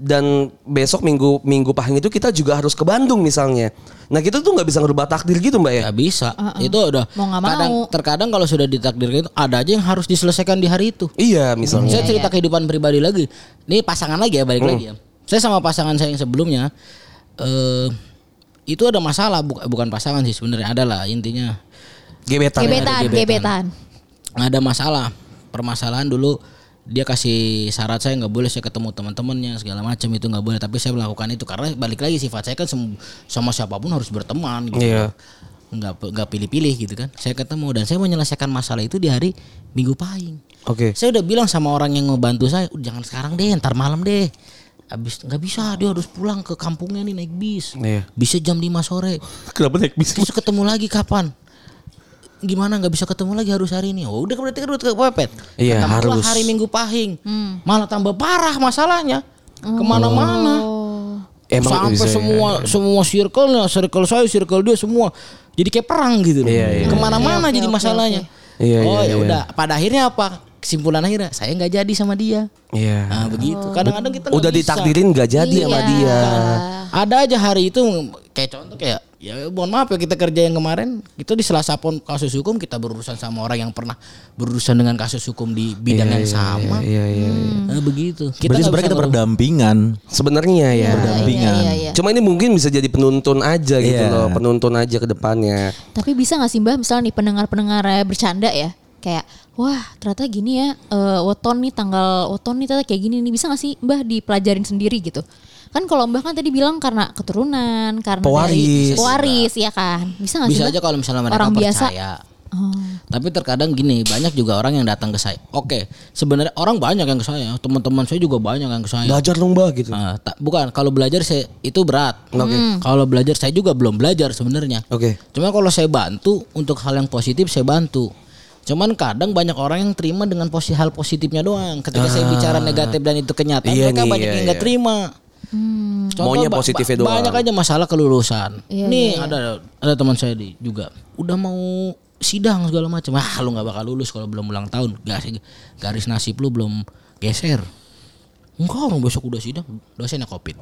Dan besok Minggu Minggu Pahing itu kita juga harus ke Bandung misalnya. Nah, kita tuh nggak bisa ngerubah takdir gitu Mbak ya.
Nggak bisa itu udah
Mau nggak
kadang
mau.
terkadang kalau sudah ditakdirkan itu ada aja yang harus diselesaikan di hari itu
Iya, Hmm. misalnya.
Saya cerita kehidupan pribadi lagi. Ini pasangan lagi ya balik lagi ya. Saya sama pasangan saya yang sebelumnya eh itu ada masalah Buk- eh, bukan pasangan sih sebenarnya adalah intinya
Gebetan. ya?
Gebetan,
Gebetan.
gebetan.
ada masalah permasalahan dulu dia kasih syarat saya nggak boleh saya ketemu teman-temannya segala macam itu nggak boleh tapi saya melakukan itu karena balik lagi sifat saya kan sem- sama siapapun harus berteman gitu
Iya.
nggak pe- nggak pilih-pilih gitu kan saya ketemu dan saya menyelesaikan masalah itu di hari minggu pahing
Oke.
saya udah bilang sama orang yang ngebantu saya, "Udah, jangan sekarang deh, ntar malam deh. Abis nggak bisa, dia harus pulang ke kampungnya nih naik bis.
Iya.
Bisa jam 5 sore.
Kenapa naik bis?
Terus ketemu lagi kapan? Gimana nggak bisa ketemu lagi harus hari ini? Oh, udah berarti kan udah kepepet.
Iya,
Ketemulah
harus.
hari Minggu pahing. Malah tambah parah masalahnya. Kemana-mana.
Emang
Sampai
bisa ya?
semua semua circle-nya, circle saya, circle dia semua jadi kayak perang gitu loh.
Iya, iya,
Kemana-mana jadi masalahnya.
Iya,
oh
iya,
ya udah. Pada akhirnya apa? Kesimpulan akhirnya saya nggak jadi sama dia.
Iya.
Nah begitu.
Oh.
Kadang-kadang kita nggak
Udah
bisa.
ditakdirin nggak jadi sama
Iya.
dia.
Ada aja hari itu kayak contoh kayak ya mohon maaf ya kita kerja yang kemarin itu di Selasa pun kasus hukum kita berurusan sama orang yang pernah berurusan dengan kasus hukum di bidang yang sama.
Iya iya.
Hmm.
iya.
Nah, begitu. Kita nggak
Berarti sebenarnya
bisa
kita
ngerubah.
berdampingan.
Sebenarnya ya.
Iya,
Berdampingan.
Cuma ini mungkin bisa jadi penuntun aja gitu
Iya.
loh, penuntun aja ke depannya.
Tapi bisa gak sih mbak misalnya nih pendengar-pendengar eh, bercanda ya Kayak wah ternyata gini ya eh, Weton nih tanggal weton nih ternyata kayak gini nih Bisa gak sih mbah dipelajarin sendiri gitu Kan kalau mbah kan tadi bilang karena keturunan karena
Pewaris.
dari- Pewaris ya kan Bisa gak sih
Bisa
Mbah?
aja kalau misalnya mereka
Orang biasa.
percaya.
Oh.
Tapi terkadang gini, banyak juga orang yang datang ke saya. Oke, sebenarnya orang banyak yang ke saya, teman-teman saya juga banyak yang ke saya.
Belajar dong, Mbak gitu.
Ah, tak- bukan kalau belajar saya itu berat. Kalau belajar saya juga belum belajar sebenarnya.
Oke.
Cuma kalau saya bantu untuk hal yang positif saya bantu. Cuman kadang banyak orang yang terima dengan posi hal positifnya doang. Ketika saya bicara negatif dan itu kenyataan,
Ah. Iya
mereka
nih,
banyak
iya,
yang nggak
iya.
terima.
Maunya
ba- ba-
positifnya doang.
Banyak aja masalah kelulusan.
Hmm. Iya,
Nih ada ada teman saya di, juga udah mau sidang segala macam. Ah, lu nggak bakal lulus kalau belum ulang tahun. Garis, garis nasib lu belum geser. Enggak orang besok udah sidang, dosennya covid.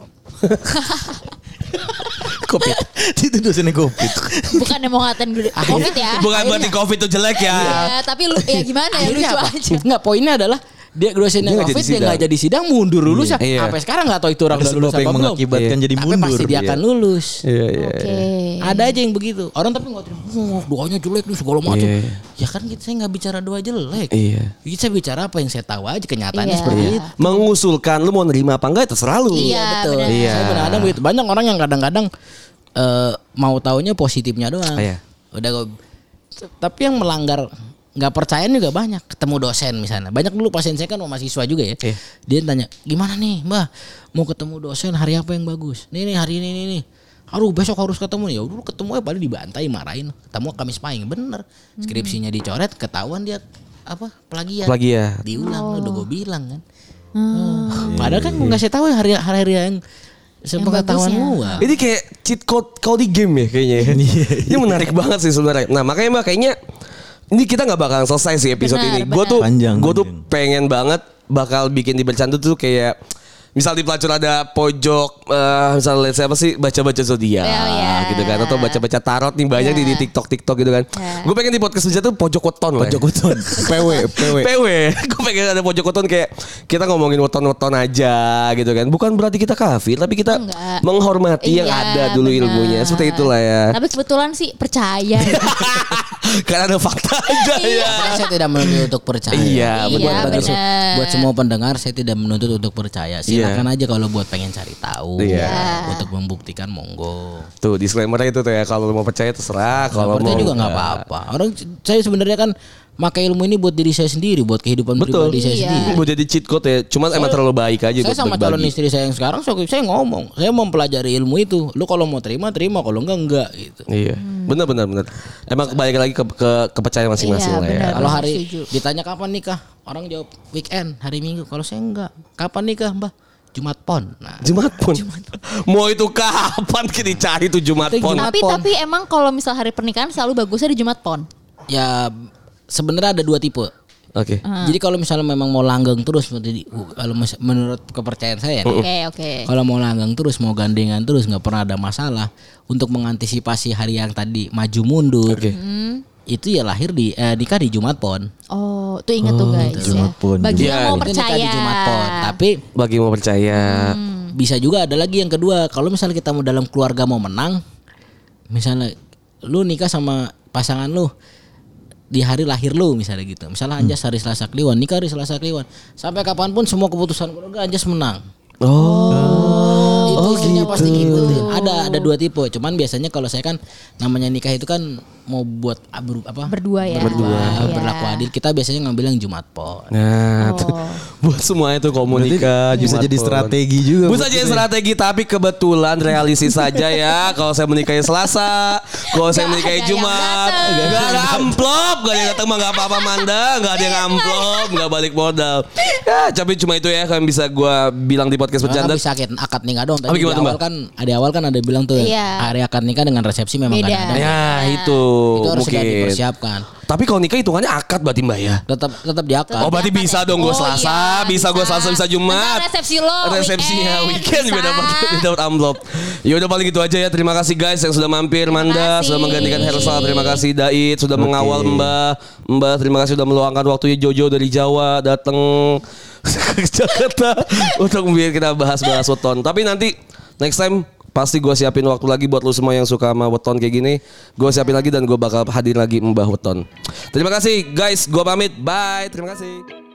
Kopi. itu dosennya kopi.
Bukan yang mau ngatain gue covid ya
Bukan berarti Covid itu jelek ya.
Iya.
Ya, tapi lu ya gimana ya
Akhirnya
lucu
Ah, apa?
aja
Iya,
Enggak, poinnya adalah dia dosennya
Dia nggak jadi
covid dia nggak
sidang.
jadi sidang mundur lulus ya.
Iya.
Sampai sekarang nggak tahu itu orang
Ada
udah lulus
sebab
apa
yang
belum.
mengakibatkan jadi
Tapi
mundur.
pasti dia
Iya.
akan lulus.
Iya iya.
Oke
Ada aja yang begitu. Orang tapi nggak terima. Wah, doanya jelek nih segala macam.
Iya.
Ya kan kita saya nggak bicara doa jelek.
Iya.
Kita bicara apa yang saya tahu aja kenyataannya
Iya.
seperti itu.
Mengusulkan lu mau nerima apa enggak terserah lu.
Iya,
betul.
benar.
Iya.
Saya kadang-kadang begitu. Banyak orang yang kadang-kadang eh, mau taunya positifnya doang.
Iya.
Udah gua- tapi yang melanggar nggak percayaan juga banyak ketemu dosen misalnya banyak dulu pasien saya kan mahasiswa juga ya
Iya.
dia tanya gimana nih mbah mau ketemu dosen hari apa yang bagus nih nih hari ini nih nih Aduh besok harus ketemu ya dulu ketemu ya paling dibantai marahin ketemu Kamis Pahing bener
Hmm.
skripsinya dicoret ketahuan dia apa plagiat
Plagiat.
Oh.
diulang udah gue bilang kan padahal
Iya,
kan gue ngasih tahu hari hari yang sepengetahuan
bagusnya.
gua
Ini kayak cheat code kau di game ya kayaknya.
Iya,
ya. ini menarik banget sih sebenarnya. Nah makanya mbak kayaknya ini kita nggak bakalan selesai sih episode
Benar,
ini. Gue tuh
Panjang,
gue tuh
panjang.
pengen banget bakal bikin di bercandu tuh kayak misal di pelacur ada pojok eh misal let's say apa sih baca-baca zodiak
Oh, iya.
gitu kan atau baca-baca tarot nih banyak di, di TikTok TikTok gitu kan.
Iya.
Gue pengen di podcast bercandu pojok weton lah. ya.
Pojok weton. PW, PW.
PW. Gue pengen ada pojok weton kayak kita ngomongin weton-weton aja gitu kan. Bukan berarti kita kafir, tapi kita
Enggak.
menghormati yang
Iya,
ada dulu
benar. Nah,
ilmunya. Seperti itulah ya.
Tapi kebetulan sih percaya.
Karena ada fakta aja ya.
Makanya saya tidak menuntut untuk percaya.
Iya,
buat,
benar.
Iya,
buat-
benar.
buat semua pendengar saya tidak menuntut untuk percaya. Silakan aja kalau buat pengen cari tahu,
Iya.
untuk membuktikan monggo.
Tuh disclaimer itu tuh ya kalau lu mau percaya
Nah,
terserah, kalau
Kalau
mau
juga nggak apa-apa. Orang saya sebenarnya kan pakai ilmu ini buat diri saya sendiri, buat kehidupan
Betul.
pribadi saya sendiri.
Mau jadi cheat code ya. Cuman emang terlalu baik aja
Saya
untuk
sama calon
berbagi.
istri saya yang sekarang saya saya ngomong, saya mempelajari ilmu itu. Lu kalau mau terima terima, kalau enggak enggak gitu.
Iya. Benar benar benar. Emang balik lagi ke, ke kepercayaan masing-masing
Iya,
lah ya.
benar.
Kalau hari
setuju.
ditanya kapan nikah, orang jawab weekend, hari Minggu. Kalau saya enggak, kapan nikah, Mbah? Jumat pon. Nah,
Jumat pun. Mau itu kapan kita cari tuh Jumat
Itu
pun.
Jumat
tapi
pon.
tapi emang kalau misal hari pernikahan selalu bagusnya di Jumat Pon.
ya sebenarnya ada dua tipe.
Oke.
Jadi kalau misalnya memang mau langgeng terus jadi uh, kalau mis- menurut kepercayaan saya nih,
Oke, oke.
kalau mau langgeng terus mau gandengan terus nggak pernah ada masalah untuk mengantisipasi hari yang tadi maju mundur.
Hmm.
Itu ya lahir di eh, nikah di Jumat Pon.
Oh, tuh ingat tuh guys
Jumat
ya.
Pon,
Jumat
Bagi yang
Pon.
mau
Itu nikah
percaya.
di Jumat Pon, tapi
Bagi yang mau percaya.
bisa juga ada lagi yang kedua kalau misalnya kita mau dalam keluarga mau menang misalnya lu nikah sama pasangan lu di hari lahir lu misalnya gitu misalnya Anjas hari Selasa Kliwon nikah hari Selasa Kliwon sampai kapanpun semua keputusan keluarga Anjas menang
Oh,
itu isinya pasti ngikutin. ada ada dua tipe cuman biasanya kalau saya kan namanya nikah itu kan mau buat abru- apa
Berdua ya.
berdua
Iya.
berlaku adil kita biasanya ngambil yang Jumat Pon
Nah,
Oh.
tuh. buat semuanya itu komunika
Berarti bisa
Jumat
jadi
pun.
strategi juga
Bisa
buat
jadi
kita.
strategi tapi kebetulan realistis saja ya. Kalau saya menikahi Selasa, kalau saya
Nggak
menikahi
ada yang
Jumat,
dateng.
enggak ada amplop, enggak ada yang datang mah enggak apa-apa Manda, enggak ada yang
Iya,
amplop, enggak balik modal. Ya, tapi cuma itu ya kan bisa gua bilang di podcast
Karena
bercanda.
Ah, bisa akad, akad nikah dong. Tadi
Apa
di
gimana,
awal
Mbak?
kan ada awal kan ada bilang tuh
Iya.
hari akad nikah dengan resepsi memang
Beda.
kadang-kadang
Ya, itu,
itu harus sudah
mungkin.
dipersiapkan.
Tapi kalau nikah hitungannya akad berarti Mbak ya.
Tetap tetap di akad.
Oh berarti
Diangkat
bisa
ya?
dong gue
Oh,
Selasa,
iya,
bisa gue
bisa.
Selasa bisa Jumat.
Bentar, resepsi lo,
Resepsinya
weekend,
weekend, juga
bisa.
dapat dapat amplop. Ya udah paling gitu aja ya. Terima kasih guys yang sudah mampir Manda,
kasih.
sudah menggantikan Hersal. Terima kasih Dait sudah mengawal Mbak. Mbak terima kasih sudah meluangkan waktunya Jojo dari Jawa datang ke Jakarta untuk biar kita bahas-bahas weton. Tapi nanti next time pasti gue siapin waktu lagi buat lu semua yang suka sama weton kayak gini. Gue siapin lagi dan gue bakal hadir lagi Mbah Weton. Terima kasih guys, gue pamit. Bye. Terima kasih.